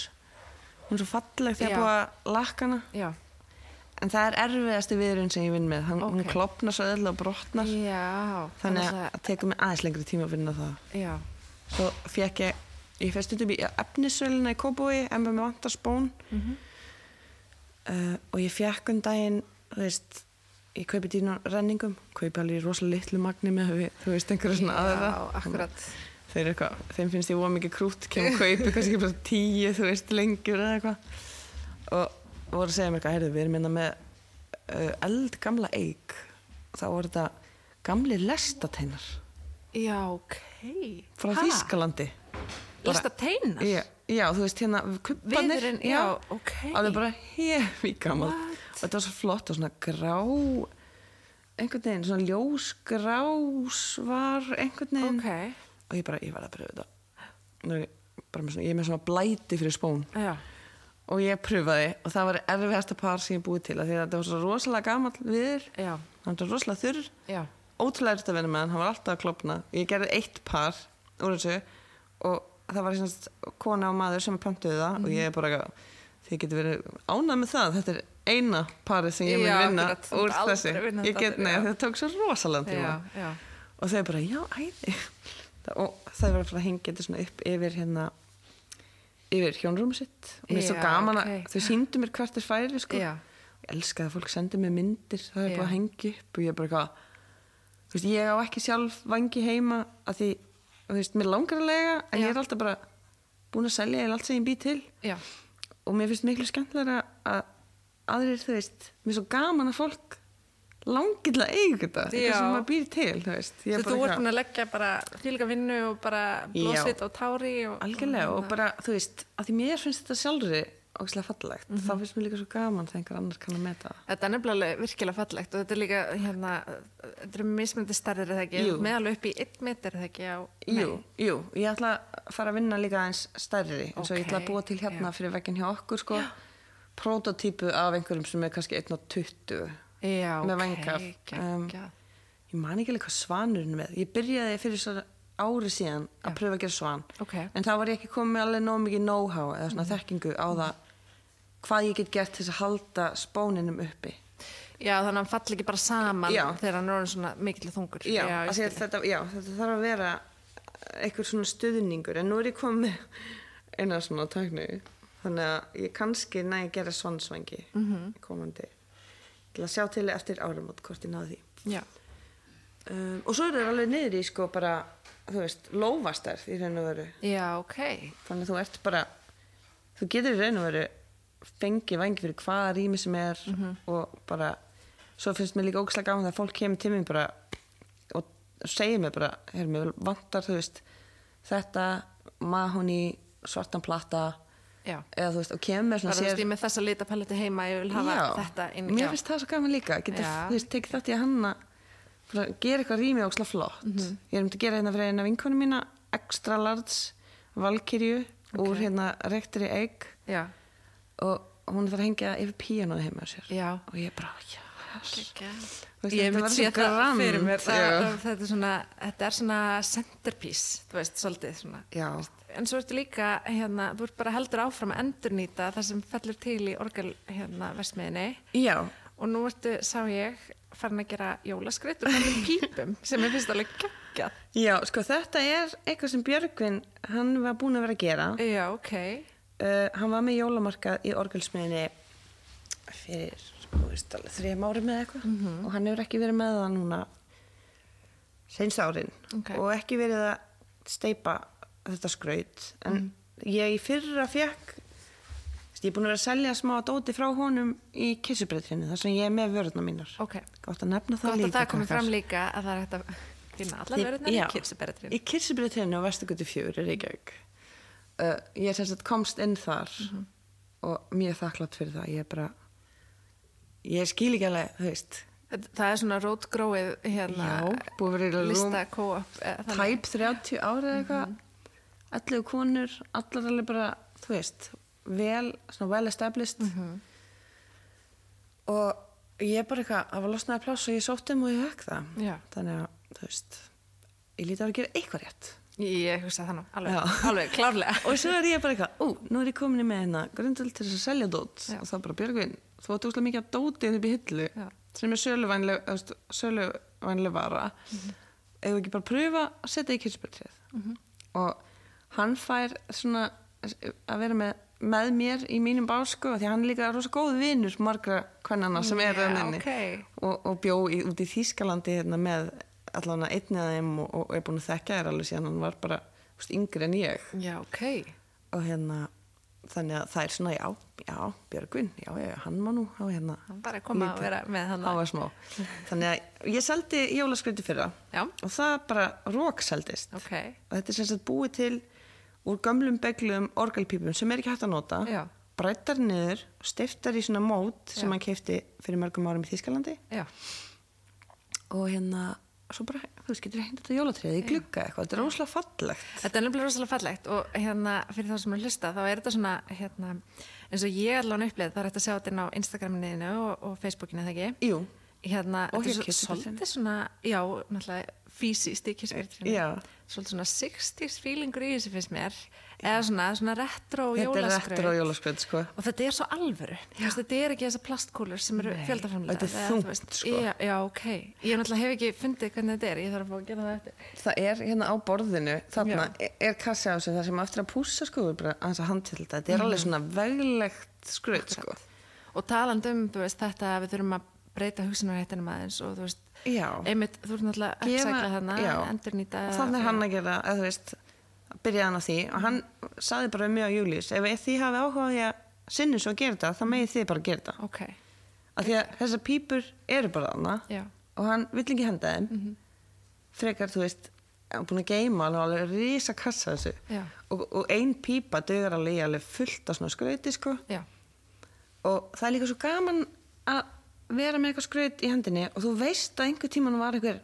hún er svo falleg þegar Já. búið að lakka hana Já, en það er erfiðasti viðurinn sem ég vinn með hann, hún Ókei. klopnar svo öll og brotnar já þannig að að það tekur mig aðeins lengri tíma að vinna það Já, svo fekk ég ég fyrst stundum í efnisöluna í Kóbúi en með vantar spón uh, og ég fekk um daginn þú veist ég kaupi dýna renningum, kaupi alveg í rosalega litlu magni með við, þú veist, einhverja svona aðra já akkurat þeir eru eitthvað, þeim finnst ég voða mikið krút kemur að kaupi, kannski bara tíu þú veist, lengjur eða eitthvað og voru að segja mér eitthvað, heyrðu, við erum hérna með uh, eldgamla eik þá voru þetta gamli lestateinar Já, ok frá Ha? Þýskalandi bara- Lista teinar já, já, þú veist, hérna kubbanir, Viðurinn, já, ok alveg bara hefi gammal What? og þetta var svo flott og svona grá einhvern veginn, svona ljósgrás var einhvern veginn Ok, og ég bara, ég verði að pröfa þetta Nú er ég, bara með svona, ég er með svona blæti fyrir spón já og ég pröfaði og það var erfiðasta par sem ég búið til af því að þetta var svo rosalega gamall viður Já, hann var svo rosalega þurr já ótrúlega erfitt að vinna með hann, hann var alltaf að klopna ég gerði eitt par úr þessu og það var svona kona og maður sem pöntuðu það og ég er bara eitthvað, þið getur verið ánað með það þetta er eina parið sem ég mun Já, vinna akkurat, þú úr munt aldrei þessi vinna ég þetta get, aftur, nei, já. þetta tók svo rosalega tíma Já, já og þau bara, já, æði og það var bara að hengja þetta svona upp yfir hérna yfir hjónrúm sitt og mér er svo Já, gaman að ok. þau síndu mér hvert er færi sko. Já. ég elska að fólk sendi mér myndir það er Já. bara að hengja upp og ég er bara eitthvað þú veist, ég á ekki sjálf vangi heima að því, þú veist, mér langar að lega en Já. ég er alltaf bara búin að selja ég er allt sem ég bý til Já, og mér finnst miklu skemmtilega að aðrir, þú veist, mér er svo gaman að fólk langið til að eiga þetta Já. eitthvað sem maður býr til, þú veist Ég er Þú bara þú ert eitthvað- búin að leggja bara þýlika vinnu og bara blóðsitt Já. og hérna. tári og, algjörlega og bara, þú veist, að því mér finnst þetta sjálfri ógislega fallegt þá Mhm. finnst mér líka svo gaman þegar einhver annar kann að meta það Þetta er nefnilega alveg virkilega fallegt og þetta er líka, hérna, þetta er mismöndi starrið eða ekki, Jú. með alveg upp í 1 metr eða ekki á, Jú, jú, ég ætla að fara að vinna líka aðeins stærri eins og ég ætla Ókei, að búa til hérna já. fyrir veggin hjá okkur sko, prototípu af einhverjum sem er kannski 1 og 20 já, Með ok, vænghaf. Um, geggjað. ég man ekki alveg hvað svanurinn er með ég byrjaði fyrir svo ári síðan að pröfa að gera svan Ok. en þá var ég ekki komið með alveg nóg mikið know-how eða Mm. svona þekkingu á það hvað ég get gert til þess að halda spóninum uppi Já, þannig að hann falli ekki bara saman Já. þegar hann er orðin svona mikill þungur. já, já, já, ég skil. þetta, já, þetta þarf að vera eitthvað svona stuðningur en nú er ég komið með eina svona tækni þannig að ég kannski næ að gera svansvangi mm Mhm. -hmm. komandi ég ætla að sjá til eftir áramót hvort ég náði því já. um, og svo eru það alveg niður í sko bara þú veist, lófastar í raun og veru já, ok. þannig að þú ert bara þú getur í raun og veru fengið vangi fyrir hvaða rými sem er Mhm. og bara, svo finnst mér líka ógslag gaman þegar fólk kemur til mér bara og segir mér bara hér mér vantar, þú veist þetta, mahóni, svartan platta Já. eða þú veist, og kemur með Bara svona þú veist, ég er með þessa litapaletti heima, ég vil hafa þetta inn. mér já. finnst það svo gaman líka getur, Já. þú veist, tekið þetta í að hanna bara gera eitthvað rými óksla flott Mhm. ég er um til að gera hérna fyrir eina vinkonu mína extra large valkyrju úr hérna rektri egg Já, og hún þarf að hengja yfir píanóð heima hjá sér já. og ég bara, jæs Geggjað. Þú veist, Ég hef þetta myndið verður svo séð það grand, fyrir mér það, já. þetta, er svona, þetta er svona centerpiece, þú veist, svolítið svona. Já. En svo ertu líka, hérna, þú ert bara heldur áfram að endurnýta það sem fellur til í orgel, hérna, versmiðinni já, og nú ertu, sá ég, farin að gera jólaskreitt og farin pípum sem ég finnst alveg geggjað. já, sko þetta er eitthvað sem Björgvin, hann var búin að vera að gera Já, ok. uh, hann var með jólamarkað í orgelsmiðinni fyrir þú veist, alveg, þrejum árum eða eitthvað Mhm. og hann hefur ekki verið með það núna seins árin Ok. og ekki verið að steipa þetta skraut en Mhm. ég í fyrra fekk ég er búin að vera að selja smá dóti frá honum í kissubreitrinu þar sem ég er með vörðna mínar Ok. gott að nefna það Gott líka að það komið krakkar. fram líka að það er hægt að finna allar Ég- verðurnar í já. kipsiberðurinn. Í Kirsubreytinu á Vestugutu 4 í Reykjavík. Uh, ég sem sagt komst inn þar Mhm. og mjög þakklátt fyrir það. Ég er bara, ég skil ekki alveg, þú veist, Það er svona rótgróið hérna Já, búið að vera í rúm- lista co-op eh, þannig. tæp 30 ára eða eitthvað, Mhm. mm 11 konur, allar alveg bara, þú veist, vel, svona well established. Mhm. Og ég er bara eitthvað, það var losnaði pláss og ég sótt um og ég höfk það. Já. Þannig að, þú veist, ég lítið á að gera eitthvað rétt. Ég hugsa það nú, alveg, Já. alveg klárlega og svo er ég bara eitthvað, ú, nú er ég komin í með hérna grundvöld til þess að selja dót Já. og þá bara Björgvin, þú átt úrslega mikið að dóti upp í hillu Já. sem er söluvænleg þú veist, söluvænleg vara Mhm. eða ekki bara pröfa að setja í kyrspiltrið og hann fær svona að vera með, með mér í mínum básku því að hann er líka rosa góð vinur margra kvennana sem er Já, yeah, rauninni ok. og, og bjó í, út í Þýskalandi hérna, með allan að einni að þeim og, og er búin að þekka þér alveg síðan hann var bara þú veist, yngri en ég Já, ok og hérna þannig að það er svona, já, já, Björgvin já, já, hann má nú á hérna Hann bara kom að lítið. vera með hann hann var smá þannig að ég seldi jólaskreiti fyrra Já. og það bara rókseldist Ok, og þetta er sem sagt búið til úr gömlum beglum orgelpípum sem er ekki hægt að nota Já. brættar niður, stiftar í svona mót sem Já. hann keipti fyrir mörgum árum í Þýskalandi já, og hérna, svo bara, þú veist, getur hengt þetta jólatriði í glugga eitthvað, þetta er óslega fallegt þetta er nefnilega rosalega fallegt og hérna fyrir þá sem er að hlusta þá er þetta svona hérna, eins og ég allan uppleið það er hægt að sjá þetta inn á Instagraminu og, og Facebookinu eða ekki Jú, hérna, Og þetta hjá er svo- kirkjugarðinum. svolítið svona já, náttúrulega fysiskt í kirkjugarðinu Já. svolítið svona 60s feelingur í þessu finnst mér eða svona, svona retro þetta er jólaskraut rettur á jólaskreiti sko og þetta er svo alvöru Þú veist, þetta er ekki þessar plastkúlur sem eru fjöldaframlega þetta er þungt, sko. já, já, ok, ég náttúrulega hef ekki fundið hvernig þetta er, ég þarf að fá að gera það eftir Það er hérna á borðinu, þarna Já. e- er, er kassi á þessu, það sem á eftir að pússa sko, er bara aðeins að handtilda, þetta er Mhm. alveg svona veglegt skraut sko. og talandi um, þú veist, þetta að við þurfum að breyta hugsunarhættinum aðeins og þú veist Já. einmitt, þú ert náttúrulega að uppsækla hana já. endurnýta Og þannig er hann að gera, eða þú veist, byrjaði hann á því og hann saði bara um mig á Július, ef þið hafi áhuga á því að sinni svo að gera þetta, þá megið þið bara að gera þetta. ok, Af því að þessar pípur eru bara þarna Já. Mhm. og hann vill ekki henda þeim, frekar, þú veist, og búin að geima alveg, alveg rísa kassa þessu Já. og, og ein pípa dögur alveg í alveg fullt af svona skrauti sko já, og það er líka svo gaman að vera með eitthvað skraut í hendinni og þú veist að einhver tíman var einhver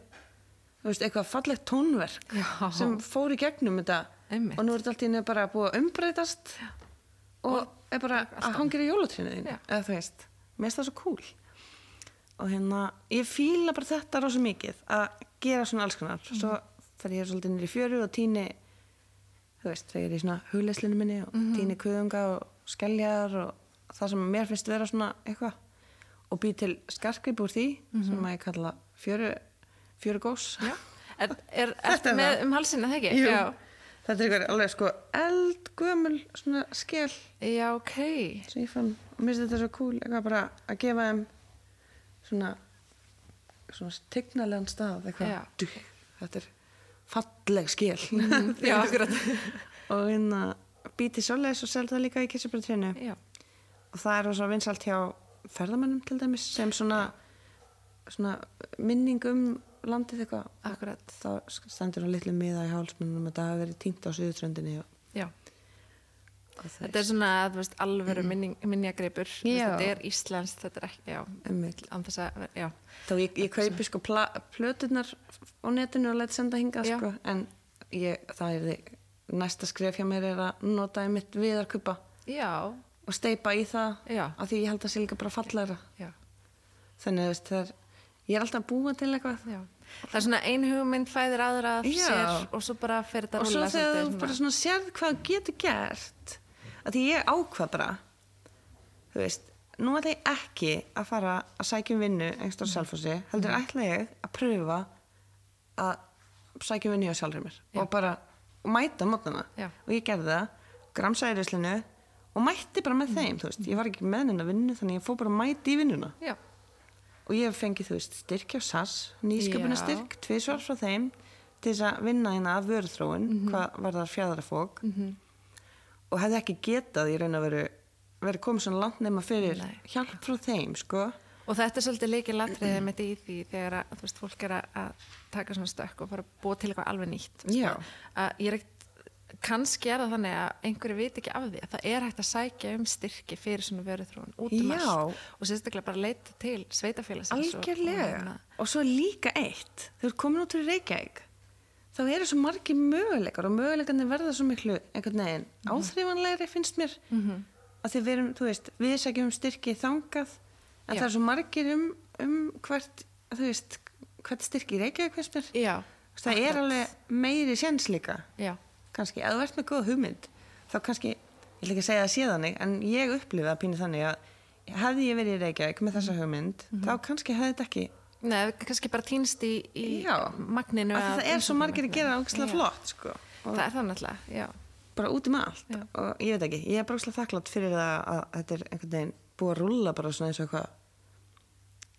þú veist, eitthvað fallegt tónverk Já. sem fór í gegnum þetta Einmitt. og nú er þetta allt í henni bara búið að umbreytast og, er bara að hangir í jólatrinu þín Já. eða þú veist, mér finnst það svo cool og hérna, ég fíla bara þetta rosa mikið að gera svona alls konar svo Mhm. fer ég svolítið nýri fjöru og tíni þú veist, þegar ég er í svona hugleislinu minni og Mhm. tíni kuðunga og skelljar og það sem mér finnst vera svona eitthvað og bý til skarkrip úr því sem að ég kalla fjöru fjöru gós Mhm. já. Er, er, Þetta er er með það. um halsina þegar ekki? Jú. Já, þetta er eitthvað alveg sko eldgömul svona skell já, ok. sem ég fann og mér finnst þetta svo cool eitthvað bara að gefa þeim svona svona tegnalegan stað Já. eitthvað Dú, þetta er falleg skil Mhm, Já, akkurat. og hérna býti svoleiðis og selja það líka í kissubröðtrénu Já, og það er svo vinsalt hjá ferðamönnum til dæmis sem svona, svona minning um landið eitthvað akkurat. þá stendur á litlu miða í hálsmennum að það hafi verið týnt á suðutröndinni og, Já. og það Þetta er svona, þú veist, alvöru minning, minnjagripur. Þú veist, Já. Þetta er Íslands, þetta er ekki, já, Einmitt. án þess að, já, Þá ég, ég kaupi sko pla, plöturnar á netinu og læt senda hingað Já. sko en ég, það er því næsta skref hjá mér er að nota einmitt viðarkupa já, og steipa í það Já. af því ég held að sé líka bara fallegra já. þannig að veist, það er, ég er alltaf að búa til eitthvað Já. Það er svona ein hugmynd fæðir aðra af Já. sér og svo bara fer þetta og svo rúlla þegar svolítið þú bara svona sérð hvað þú getur gert af því ég ákvað bara þú veist, nú ætla ég ekki að fara að sækja um vinnu Mm. einhverjum selfhósi, heldur ætla ég að pröfa að sækja um vinnu hjá sjálfur mér og bara og mæta mótana Já. og ég gerði það, gramsaði í ruslinu og mætti bara Mm. með þeim, þú veist ég var ekki með hennar vinnu, þannig ég fór bara að mæti í vinnuna Já, og ég hef fengið, þú veist, styrkja SAS nýsköpunastyrk, tvisvar frá þeim til þess að vinna hérna að vöruþróun hvað var það fjadrafók og hefði ekki getað í raun að veru verið komið svona langt nema fyrir Nei. hjálp frá þeim, sko og þetta er svolítið leikið latriðið með því því þegar að, þú veist, fólk er að- að taka svona stökk og fara að búa til eitthvað alveg nýtt. þú veist, Já. Að ég er ekkert, kannski er það þannig að einhverju veit ekki af því að það er hægt að sækja um styrki fyrir svona vöruþróun út um Já. allt og sérstaklega bara leita til sveitafélagsins. og- og Algjörlega. hérna- Og svo er líka eitt, þegar þú komin út úr Reykjavík, þá eru svo margi möguleikar og möguleikarnir verða svo miklu einhvern veginn Mhm. áþrifanlegri finnst mér. Að því við erum, þú veist, við sækjum um styrki þangað, en Já. það er svo margir um, um hvert, þú veist, hvert styrki í Reykjavík finnst mér. Já. Þú veist, Það er akkurat. alveg meiri séns líka, Já, kannski, að þú ert með góða hugmynd, þá kannski, ég ætla ekki að segja það séðanig, en ég upplifa að pínu þannig að hefði ég verið í Reykjavík með þessa hugmynd, Mhm. þá kannski hefði þetta ekki Nei, kannski bara týnst í, í Já. magninu að af það er svo umsóknum einhvern margir að gera veginn. ógislega Já. flott sko. og Það er það náttúrulega, já. bara út um allt og ég veit ekki, ég er bara ógislega þakklátt fyrir það að þetta er einhvern veginn búið að rúlla bara svona eins og eitthvað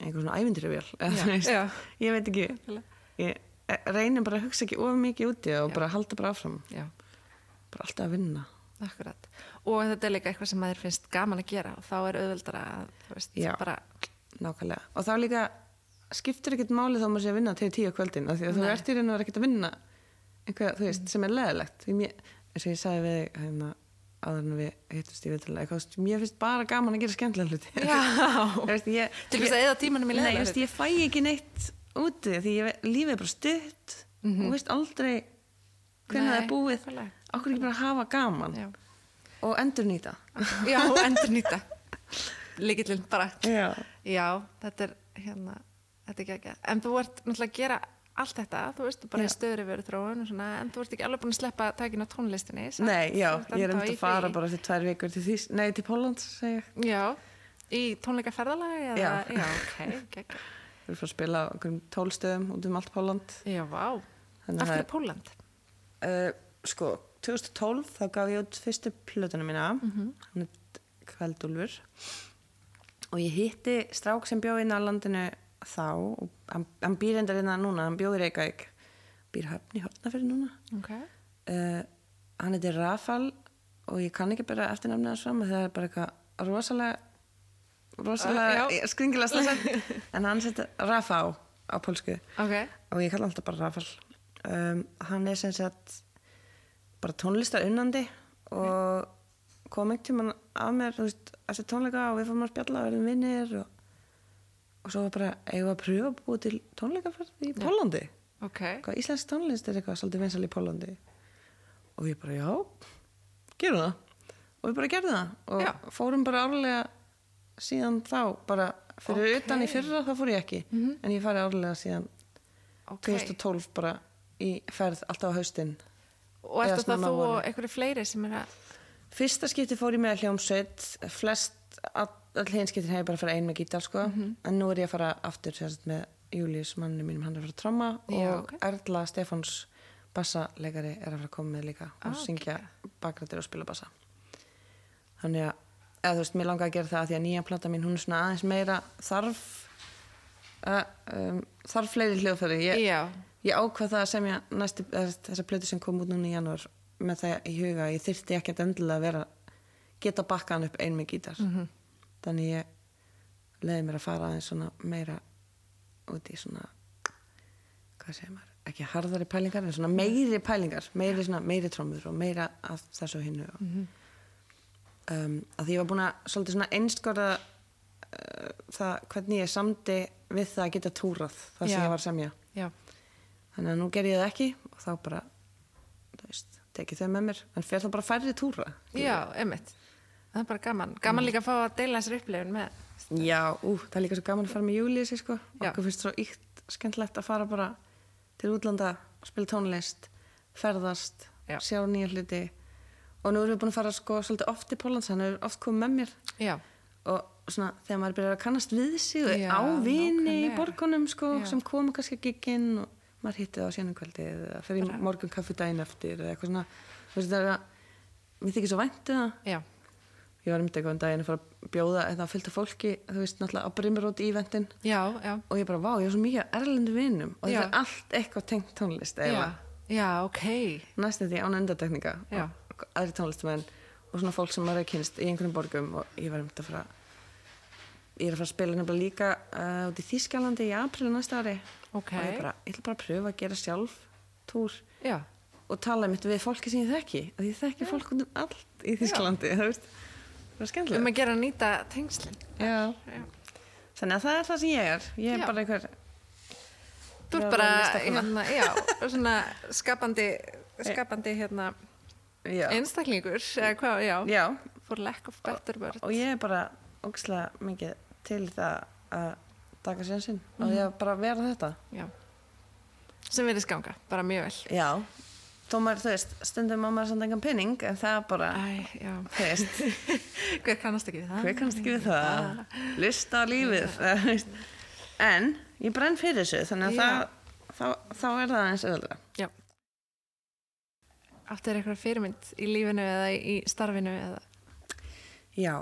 einhvern svona Já, ævindirjöfjál já. ég veit ekki ég reynir bara að hugsa ekki of mikið úti og bara halda bara áfram Já, bara alltaf að vinna akkurat. Og þetta er líka eitthvað sem maður finnst gaman að gera og þá er auðveldara að, þú veist, Já. bara, nákvæmlega, og þá líka skiptir ekkert máli þá maður sé að vinna til tíu á kvöldin af því að þú Nei. ert í raun og verið ekkert að vinna einhvað, þú veist, sem er leðilegt eins og ég sagði við þig, hérna, áður en við hittust í viðtala eitthvað, þú veist, mér finnst bara gaman að gera skemmtilega hluti Já. Þú veist, ég, Til þess að eyða tímanum í Nei, leiðinlega þú veist, ég fæ ekki neitt úti því ég, ve- lífið er bara stutt og veist aldrei hvernig það Mhm. Nei, er búið nákvæmlega. okkur ekki bara að hafa gaman já, og endur nýta já og endur nýta. Líkillinn bara. Já. Já, þetta er, hérna, þetta er ekki En þú ert náttúrulega að gera allt þetta, þú veist, þú bara Já. er stöðri verið þróun og svona, en þú ert ekki alveg búin að sleppa takinu á tónlistinni. samt. Nei, já, Þú ert ég er ennþá enda í að fara því. bara til tvær vikur til því, nei, til Pólland, segi ég. Já, í tónleikaferðalagi eða, Já. já ok, geggjað. Við erum frá að spila á einhverjum tólstöðum út um allt Pólland. Já, vá. Þannig að Af það hverju er- Póland? Uh, sko, 2012 þá gaf ég út fyrstu plötuna mína, Mhm. hann er Kveldúlfur. Og ég hitti strák sem bjóð inn á landinu þá, og hann, hann býr endar innan núna, hann bjóð í Reykjavík, býr höfn í Hortnafyrir núna. Ok. uh, hann heitir Rafal og ég kann ekki bara eftirnafnið hans fram af því það er bara eitthvað rosalega rosalega Uh, já. uh, skringilega slessa en hann setja Rafa á á pólsku Ok. og ég kalla hann alltaf bara Rafal um, hann er sem sagt bara tónlistar unnandi og kom ekki tíma af mér þú veist, þessi tónleika og við fórum að spjalla og verðum vinnir og, og svo var bara, eigum við að pröfa að búa til tónleikaferð í Pólandi ok, eitthvað, íslensk tónlist er eitthvað svolítið vinsal í Pólandi og ég bara, já, gerum það og við bara gerðum það og Já. fórum bara árlega síðan þá bara fyrir Ókei. utan í fyrra þá fór ég ekki en ég farið árlega síðan Mhm. ok 2012 bara í ferð alltaf á haustin og eða eftir það snemma þú á og vorin. einhverju fleiri sem er að fyrsta skipti fór ég með hljómsveit flest, all, all hinskiptin hef ég bara farið ein með gítar sko Mhm. en nú er ég að fara aftur sérst, með Július mannum mínum hann er að fara að tromma Já, og ok. Erla Stefáns bassalegari er að fara að koma með líka og Ah, syngja bakrættir og spila bassa þannig að eða þú veist, mér langaði að gera það af því að nýja plata mín hún er svona aðeins meira þarf að, um, þarf fleiri hljóðfæri ég, já, Ég ákvað það að semja næstu, þessa plötu sem kom út núna í janúar með það í huga að ég þyrfti ekkert endilega að vera geta bakkaðan upp ein með gítar þannig ég leiði mér að fara aðeins svona meira út í svona hvað segir maður, ekki harðari pælingar en svona meiri pælingar, meiri, svona, meiri trommur og meira af þessu og hinnu og, um, að því ég var búin að svolítið svona einskorða uh, það hvernig ég samdi við það að geta túrað það sem Já. ég var að semja já, þannig að nú ger ég það ekki og þá bara þú veist, tekið þau með mér en fer það bara færri túra já, einmitt það er bara gaman, gaman Mm. líka að fá að deila þessar upplifun með já, ú, það er líka svo gaman að fara með júli sko. Já. okkur finnst svo íkt skemmtilegt að fara bara til útlanda spila tónlist, ferðast Já. sjá nýja hluti og nú erum við búin að fara sko svolítið oft í Pólans hann er oft komið með mér já, og svona þegar maður byrjar að kannast við sig og Já, á vini í nákvæmlega. borgunum sko, Já. sem koma kannski að giginn og maður hitti það á sjönnumkvöldi eða fer í morgun kaffi daginn eftir eða eitthvað svona þú veist það er að mér þykir svo væntu það já, ég var um eitthvað um daginn að fara að bjóða eða fylgta fólki, þú veist náttúrulega á brimrót í vendin já, já og ég bara vá, ég er svo mikið af erlendu vinum og Já. þetta er allt eitthvað tengt tónlist já, eða já, ok næstum því án endatekninga Já. og aðri tónlistamenn og svona fólk sem maður er kynst í einhverjum borgum og ég var um þetta að fara ég er að fara að spila nefnilega líka uh, út í Þískalandi í aprílu næsta ári ok, og ég bara, ég ætla bara að pröfa að gera sjálf túr já, og tala mitt við fólki sem ég þekki og ég þekki fólk út um allt í Þískalandi þú veist, það er skemmtilega um að gera að nýta tengslin Já. Já. þannig að það er það sem ég er ég er Já. bara einhver þú Já, ert bara, bara listakona. hérna, já svona skapandi skapandi hérna já, einstaklingur, eða hvað, já, já for lack of better word og ég er bara ógislega mikið til í það að taka sénsinn og ég bara vera þetta já sem verðist ganga, bara mjög vel já, þó maður þú veist stundum á maður samt engan penning en það er bara, Æ, já, þú veist hver kannast ekki við það hver kannast ekki við það lista á lífið þú veist. en ég brenn fyrir þessu þannig Já. að það, þá, þá er það eins öðra Já. Áttu þér eitthvað fyrirmynd í lífinu eða í starfinu eða... já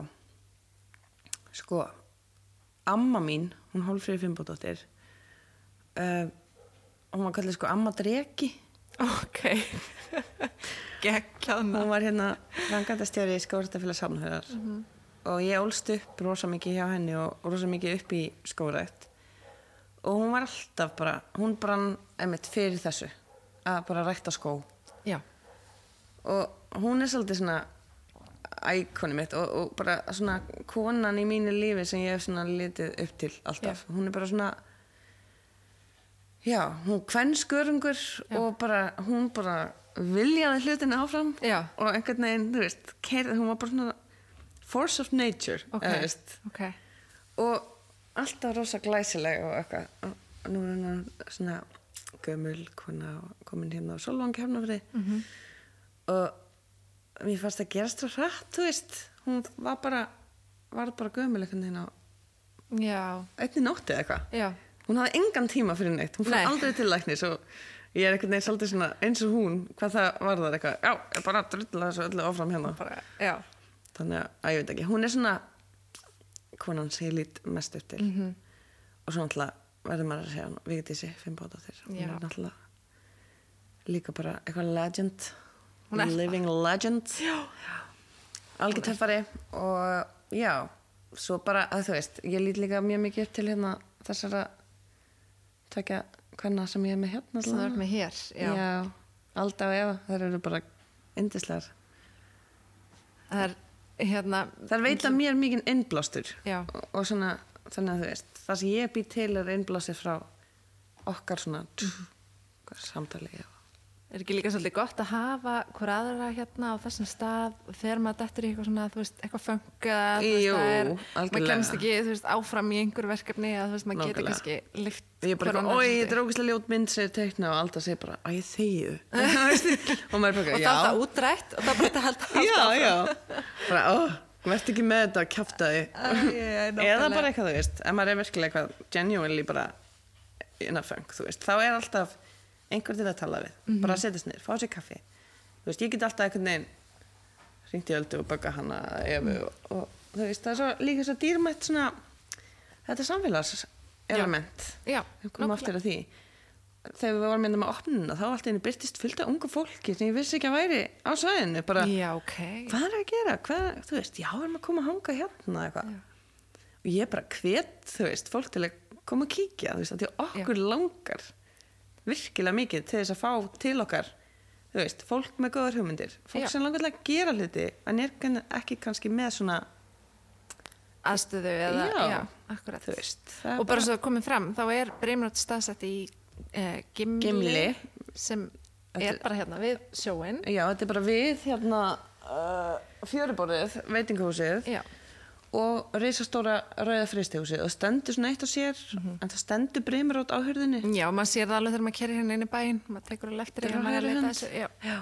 sko amma mín, hún hálfrið Fimboðdóttir uh, hún var kallið sko amma dreki Ok. Gekklað hún var hérna rangandastjóri í skórættafélag samhverjar og ég ólst upp rosa mikið hjá henni og rosa mikið upp í skórætt og hún var alltaf bara hún brann einmitt fyrir þessu að bara rækta skó Já, og hún er svolítið svona ækoni mitt og, og bara svona konan í mínu lífi sem ég hef svona litið upp til alltaf hún er bara svona já, hún kvenskörungur og bara, hún bara viljaði hlutinu áfram Já. og einhvern veginn, þú veist, keir, hún var bara svona force of nature ok. eða, þú veist, Ok. og alltaf rosa glæsileg og eitthvað og nú er hún svona gömul kona og komin hérna á Solvang hefnafrið Mhm. -hmm. og mér fannst það gerast svo hratt þú veist, hún var bara var bara gömul eitthvað hérna á Já, einni nótti eða eitthvað já, hún hafði engan tíma fyrir neitt, hún fór Nei. aldrei til læknis og ég er einhvern veginn svolítið svona eins og hún, hvað það var það eitthvað já, ég bara drulla þessu öllu áfram hérna bara, já. þannig að, að ég veit ekki, hún er svona konan sem ég lít mest upp til -hmm. Mhm. og svo náttúrulega verður maður að segja hann, við getið sér fimm bóta þér hún Já. er náttúrulega líka bara eitthvað legend Hún er það. living legend algjörtöfari og já, svo bara að þú veist ég lít líka mjög mikið upp til hérna þessara tvekja hvenna sem ég er með hérna sem það er allavega. með hér já. já. Alda og Eva, þær eru bara yndislegar það er hérna þær veita mér mikið innblástur Já. og, og svona, þannig að þú veist það sem ég býr til er innblástur frá okkar svona tjú, hvað er samtali já. er ekki líka svolítið gott að hafa hver aðra hérna á þessum stað þegar maður dettur í eitthvað svona, þú veist, eitthvað fönga þú veist, Jú, það er, maður algjörlega. kemst ekki, þú veist, áfram í einhver verkefni að þú veist, maður getur Nákvæmlega. kannski lyft ég er bara hver eitthvað, annan oi, svolítið." þetta er ógæslega ljót mynd sem er teikna og Alda segir bara, að ég þegju og maður er bara, og já það er það útrætt og það er bara þetta halda já, já bara, ó, verð ekki með þetta að kjafta eða bara eitthvað, þú veist, ef maður er virkilega eitthvað genuinely bara in a funk, þú veist, þá er alltaf einhver til að tala við, bara að setjast niður, fá sér kaffi þú veist, ég get alltaf einhvern veginn hringt í öldu og baka hana efu og, og þú veist, það er svo líka svo dýrmætt svona, þetta samfélags element, Já, við komum nákvæmlega. aftur að því þegar við varum hérna með opnuna þá allt einu byrtist fullt af ungu fólki sem ég vissi ekki að væri á svæðinu bara, já, ok hvað er að gera, hvað, þú veist, já, erum að koma að hanga hérna eitthvað. Og ég bara hvet, þú veist, fólk til að koma að kíkja, þú veist, að því að okkur langar virkilega mikið til þess að fá til okkar, þú veist, fólk með góðar hugmyndir, fólk Já. sem langar til að gera hluti, en er kann- ekki kannski með svona, aðstöðu eða, já, Já, akkurat þú veist, það er og bara svo komið fram, þá er Brimrótt staðsett í uh, gimli, Gimli. sem er Þetta- bara hérna við sjóin já, þetta er bara við hérna uh, fjöruborðið, veitingahúsið, já, og reisastóra rauða fristihúsið og stendur svona eitt á sér, Mhm. en það stendur brimur á hurðinni. já maður sér það alveg þegar maður kerir hérna inn í bæinn maður tekur alveg eftir Þetta er ef á maður er að hægri leita hönd. þessu, já.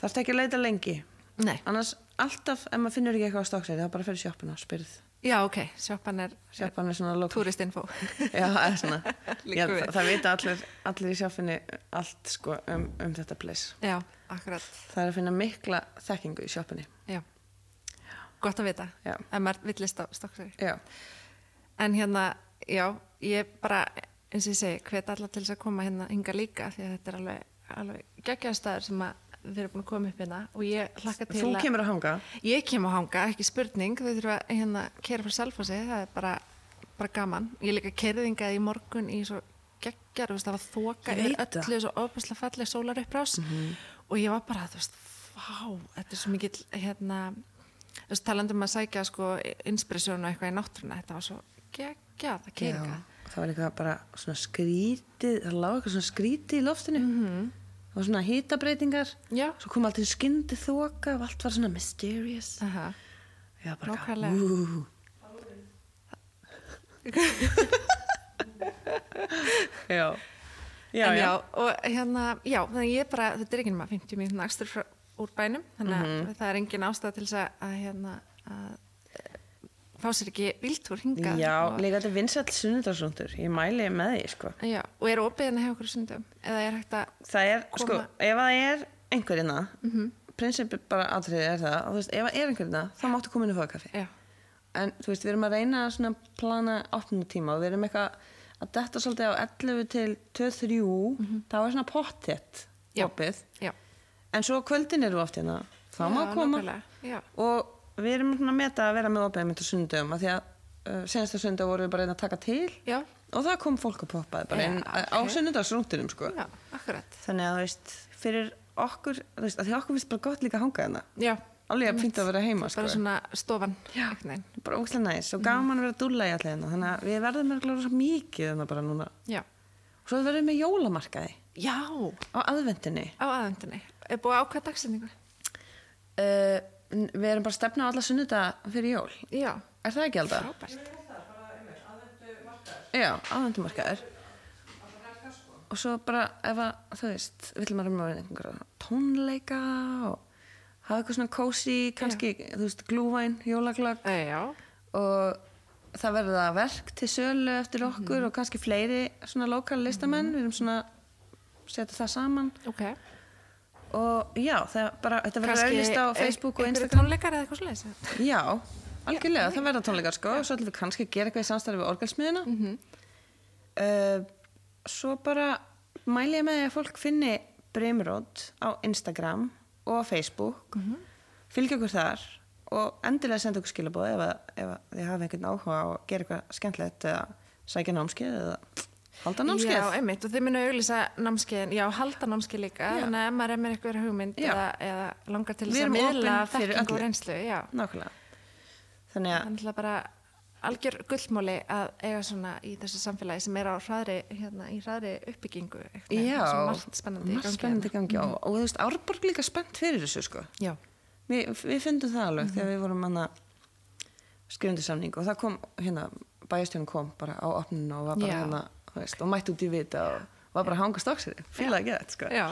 Það er ekki að leita lengi. Nei. Annars alltaf, ef maður finnur ekki eitthvað á stokksæri, þá bara fyrir sjoppuna og spyrð. já, ok, sjoppan er Sjoppan er svona lókn. turistinfo Já, það er svona. Já, Liggur við. það, það vita allir, allir í sjoppunni allt sko um, um þetta place. já, akkurat Það er að finna mikla þekkingu í sjoppunni. já. gott að vita Já. ef maður villist á stokkseri Já, En hérna, já, ég bara, eins og ég segi, hvet alla til þess að koma hérna hinga líka því að þetta er alveg, alveg geggjaðstæður sem að við erum búin að koma upp hérna og ég hlakka til þú að... kemur að hanga. Ég kem að hanga, ekki spurning, þau þurfa að hérna kera frá selfósi, það er bara, bara gaman. Ég líka kerðingaði í morgun í svo geggjar, þú veist, það var þoka yfir Ég veit það. Mhm. öllu svo ofbæslega falleg sólarupprás og ég var bara, þú veist, vá, þetta er svo mikill, hérna, þú veist, talandi um að sækja sko inspiration og eitthvað í náttúruna, þetta var svo geggjað að keringa. það var eitthvað bara svona skrítið, það lág eitthvað svona skrítið í loftinu. Mhm. Það var svona hýtabreitingar. Já. Svo kom alltaf skyndi þoka og allt var svona mysterious. Aha. Já, bara Nákvæmlega. Úúú. já. Já, en já, já. og hérna, já, þannig að ég bara, þetta er ekki nema 50 mínútur akstur frá úr bænum, þannig að Mhm. það er engin ástæða til þess að, að hérna, að eh, fá sér ekki viltúr hingað. Já, og, líka þetta er vinsall sunnudagsrúndur. Ég mæli með því, sko. já, og er opið hérna hjá okkur sundum, eða er hægt að, Það er, Koma- Mhm. sko, ef það er einhverjina, mm -hmm. prinsipið bara atriðið er það, að þú veist, ef það er einhverjina, þá máttu koma inn og fóða kaffi. já, En, þú veist, við erum að reyna að svona plana opnutíma og við erum eitthvað að detta svolítið á 11 til 2-3, þá er svona pottet Mhm. Já. opið. já. En svo á kvöldin eru oft hérna, þá má Já, koma. nákvæmlega, Já, og við erum svona að meta að vera með opið mynd á sundum af því að uh, senasta sundu vorum við bara að reyna að taka til já, og það kom fólk að poppaði bara Já, inn ok. á sunnudagsrúndunum sko. já, akkurat, þannig að þú veist, fyrir okkur þú veist, að því okkur finnst bara gott líka að hanga hérna já, alveg að fýnda að vera heima sko. bara svona stofan, Já. einhvern veginn, bara ógæslega næs og gaman að vera að dúlla í allir hérna þannig að við verðum með glára svo mikið hérna bara núna já. og svo verðum við með jólamarkaði Já, á aðvendinni á aðvendinni, er búið að ákveða dagsendingu? uh, við erum bara að stefna á alla sunnudag fyrir jól Já, er það ekki alltaf? frábært. Já, aðvendumarkaður Og svo bara ef að, þú veist, vill maður um að vera einhverja tónleika og hafa eitthvað svona kósi, kannski, þú veist, glúvæn, jólaglögg Eh, Já, og það verða verk til sölu eftir Mhm. okkur og kannski fleiri svona lokal listamenn, við erum svona setja það saman ok. og já, það bara, þetta verður Kannski auðvist á ein- Facebook og einhverjir Instagram tónleikar eða eitthvað svolítið Já, algjörlega, það verða tónleikar sko og svo ætlum við kannski að gera eitthvað í samstarfi við orgelsmiðina Mhm. uh, Svo bara mæli ég með því að fólk finni Brimrót á Instagram og á Facebook Mhm. fylgja okkur þar og endilega senda okkur skilabóð ef, að- ef að þið hafa einhvern áhuga á að gera eitthvað skemmtlegt eða sækja námskeið eða Halda námskeið. Já, einmitt, og þið munu auglýsa námskeiðin, já, halda námskeið líka, Já. þannig að ef maður er með einhver hugmynd Já. eða, eða langar til Við þess að erum miðla opin fyrir þekkingu öllu. og reynslu, já. Nákvæmlega. Þannig að, Þannig að bara algjör gullmóli að eiga svona í þessu samfélagi sem er á hraðri, hérna, í hraðri uppbyggingu, eitthvað, já, margt spennandi. í margt gangi spennandi í hérna. gangi. Og, og þú veist, Árborg líka spennt fyrir þessu, sko. Já, Vi, við fundum það alveg Mhm. þegar við vorum hann að skrifundu samning og það kom, hérna, bæjastjónum kom bara á opninu og var bara Já. hérna, þú veist, og mætti út í vita og var bara að hanga stóksir. Fýlaði ekki þetta, sko. já,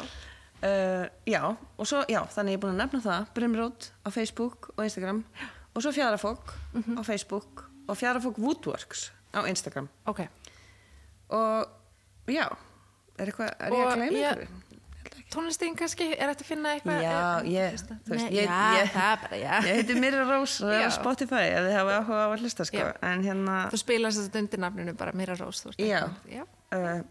Uh, já, og svo, já, þannig ég er búin að nefna það Brimrót á Facebook og Instagram og svo Fjarafók Mhm. á Facebook og Fjarafók Woodworks á Instagram ok. og já, er eitthvað, er ég Og að gleyma ég- ykkur? Tónlistin kannski, er þetta að finna eitthvað? Já, er- ég, fyrsta- þú veist, Nei, ég- já, ég- það er bara, já. Ég heiti Mirra Rós og það er á Já. Spotify ef þið hafa áhuga á að hlusta sko Já. en hérna, Þú spilast þetta undir nafninu bara Mira Rós, þú veist. Já. Já, uh,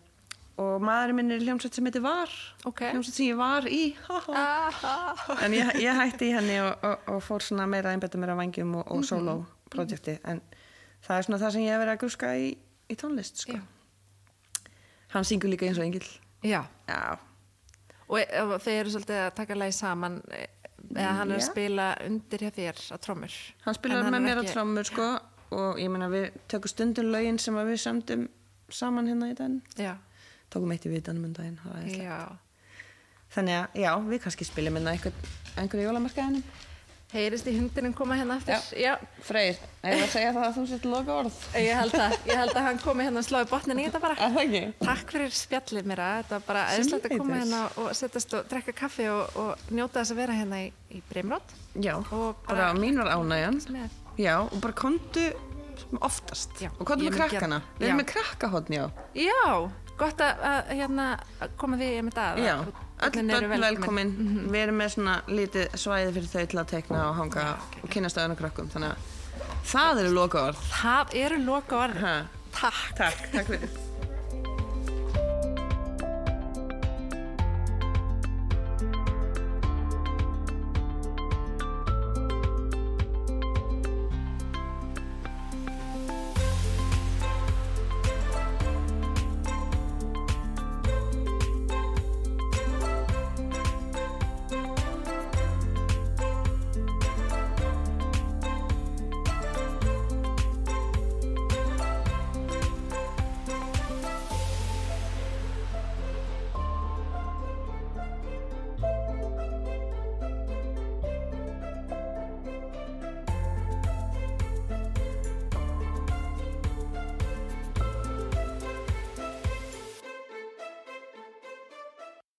og maðurinn minn er í hljómsveit sem heitir Var ok. hljómsveit sem ég var í ha, ha. Ah, en ég, ég hætti í henni og, og, og fór svona meira einbetta mér á vangjum og, og solo Mhm. projekti en það er svona það sem ég hef verið að gruska í, í tónlist sko. Já. hann syngur líka eins og engil Já, já, og e- og þið eru svolítið að taka lagi saman e- eða hann er að Já. spila undir hjá þér á trommur En hann spilar hann með er mér á ekki- trommur sko, og ég meina við tökum stundum lögin sem að við samtum saman hérna í daginn Já, tókum eitt í vitanum um daginn það var æðislegt. já þannig að já, við kannski spilum hérna einhver, einhverju jólamarkaðinum Heyrist í hundinum koma hérna aftur Já, Freyr, ég var að segja það að þú sett loka orð ég held að, ég held að hann komi hérna og slái botnin í þetta bara er það ekki? Takk fyrir spjallið mér að þetta var bara eðslegt að koma Sömuleiðis. hérna og setjast og drekka kaffi og, og njóta þess að vera hérna í, í Brimrót Já, Og bara- bara mín var ánægjan með Já, og bara komdu oftast Já, og komdu ég með mun gera- krakkana Við erum Já. með krakkahotn, já Já, gott að, að hérna að koma því einmitt að Já, að öll börnin eru börn velkomin Mhm. Við erum með svona lítið svæði fyrir þau til að tekna og hanga Já, ok, og kynast öðrum krökkum Þannig að það eru loka orð Það eru loka orðin ha, Takk Takk, takk fyrir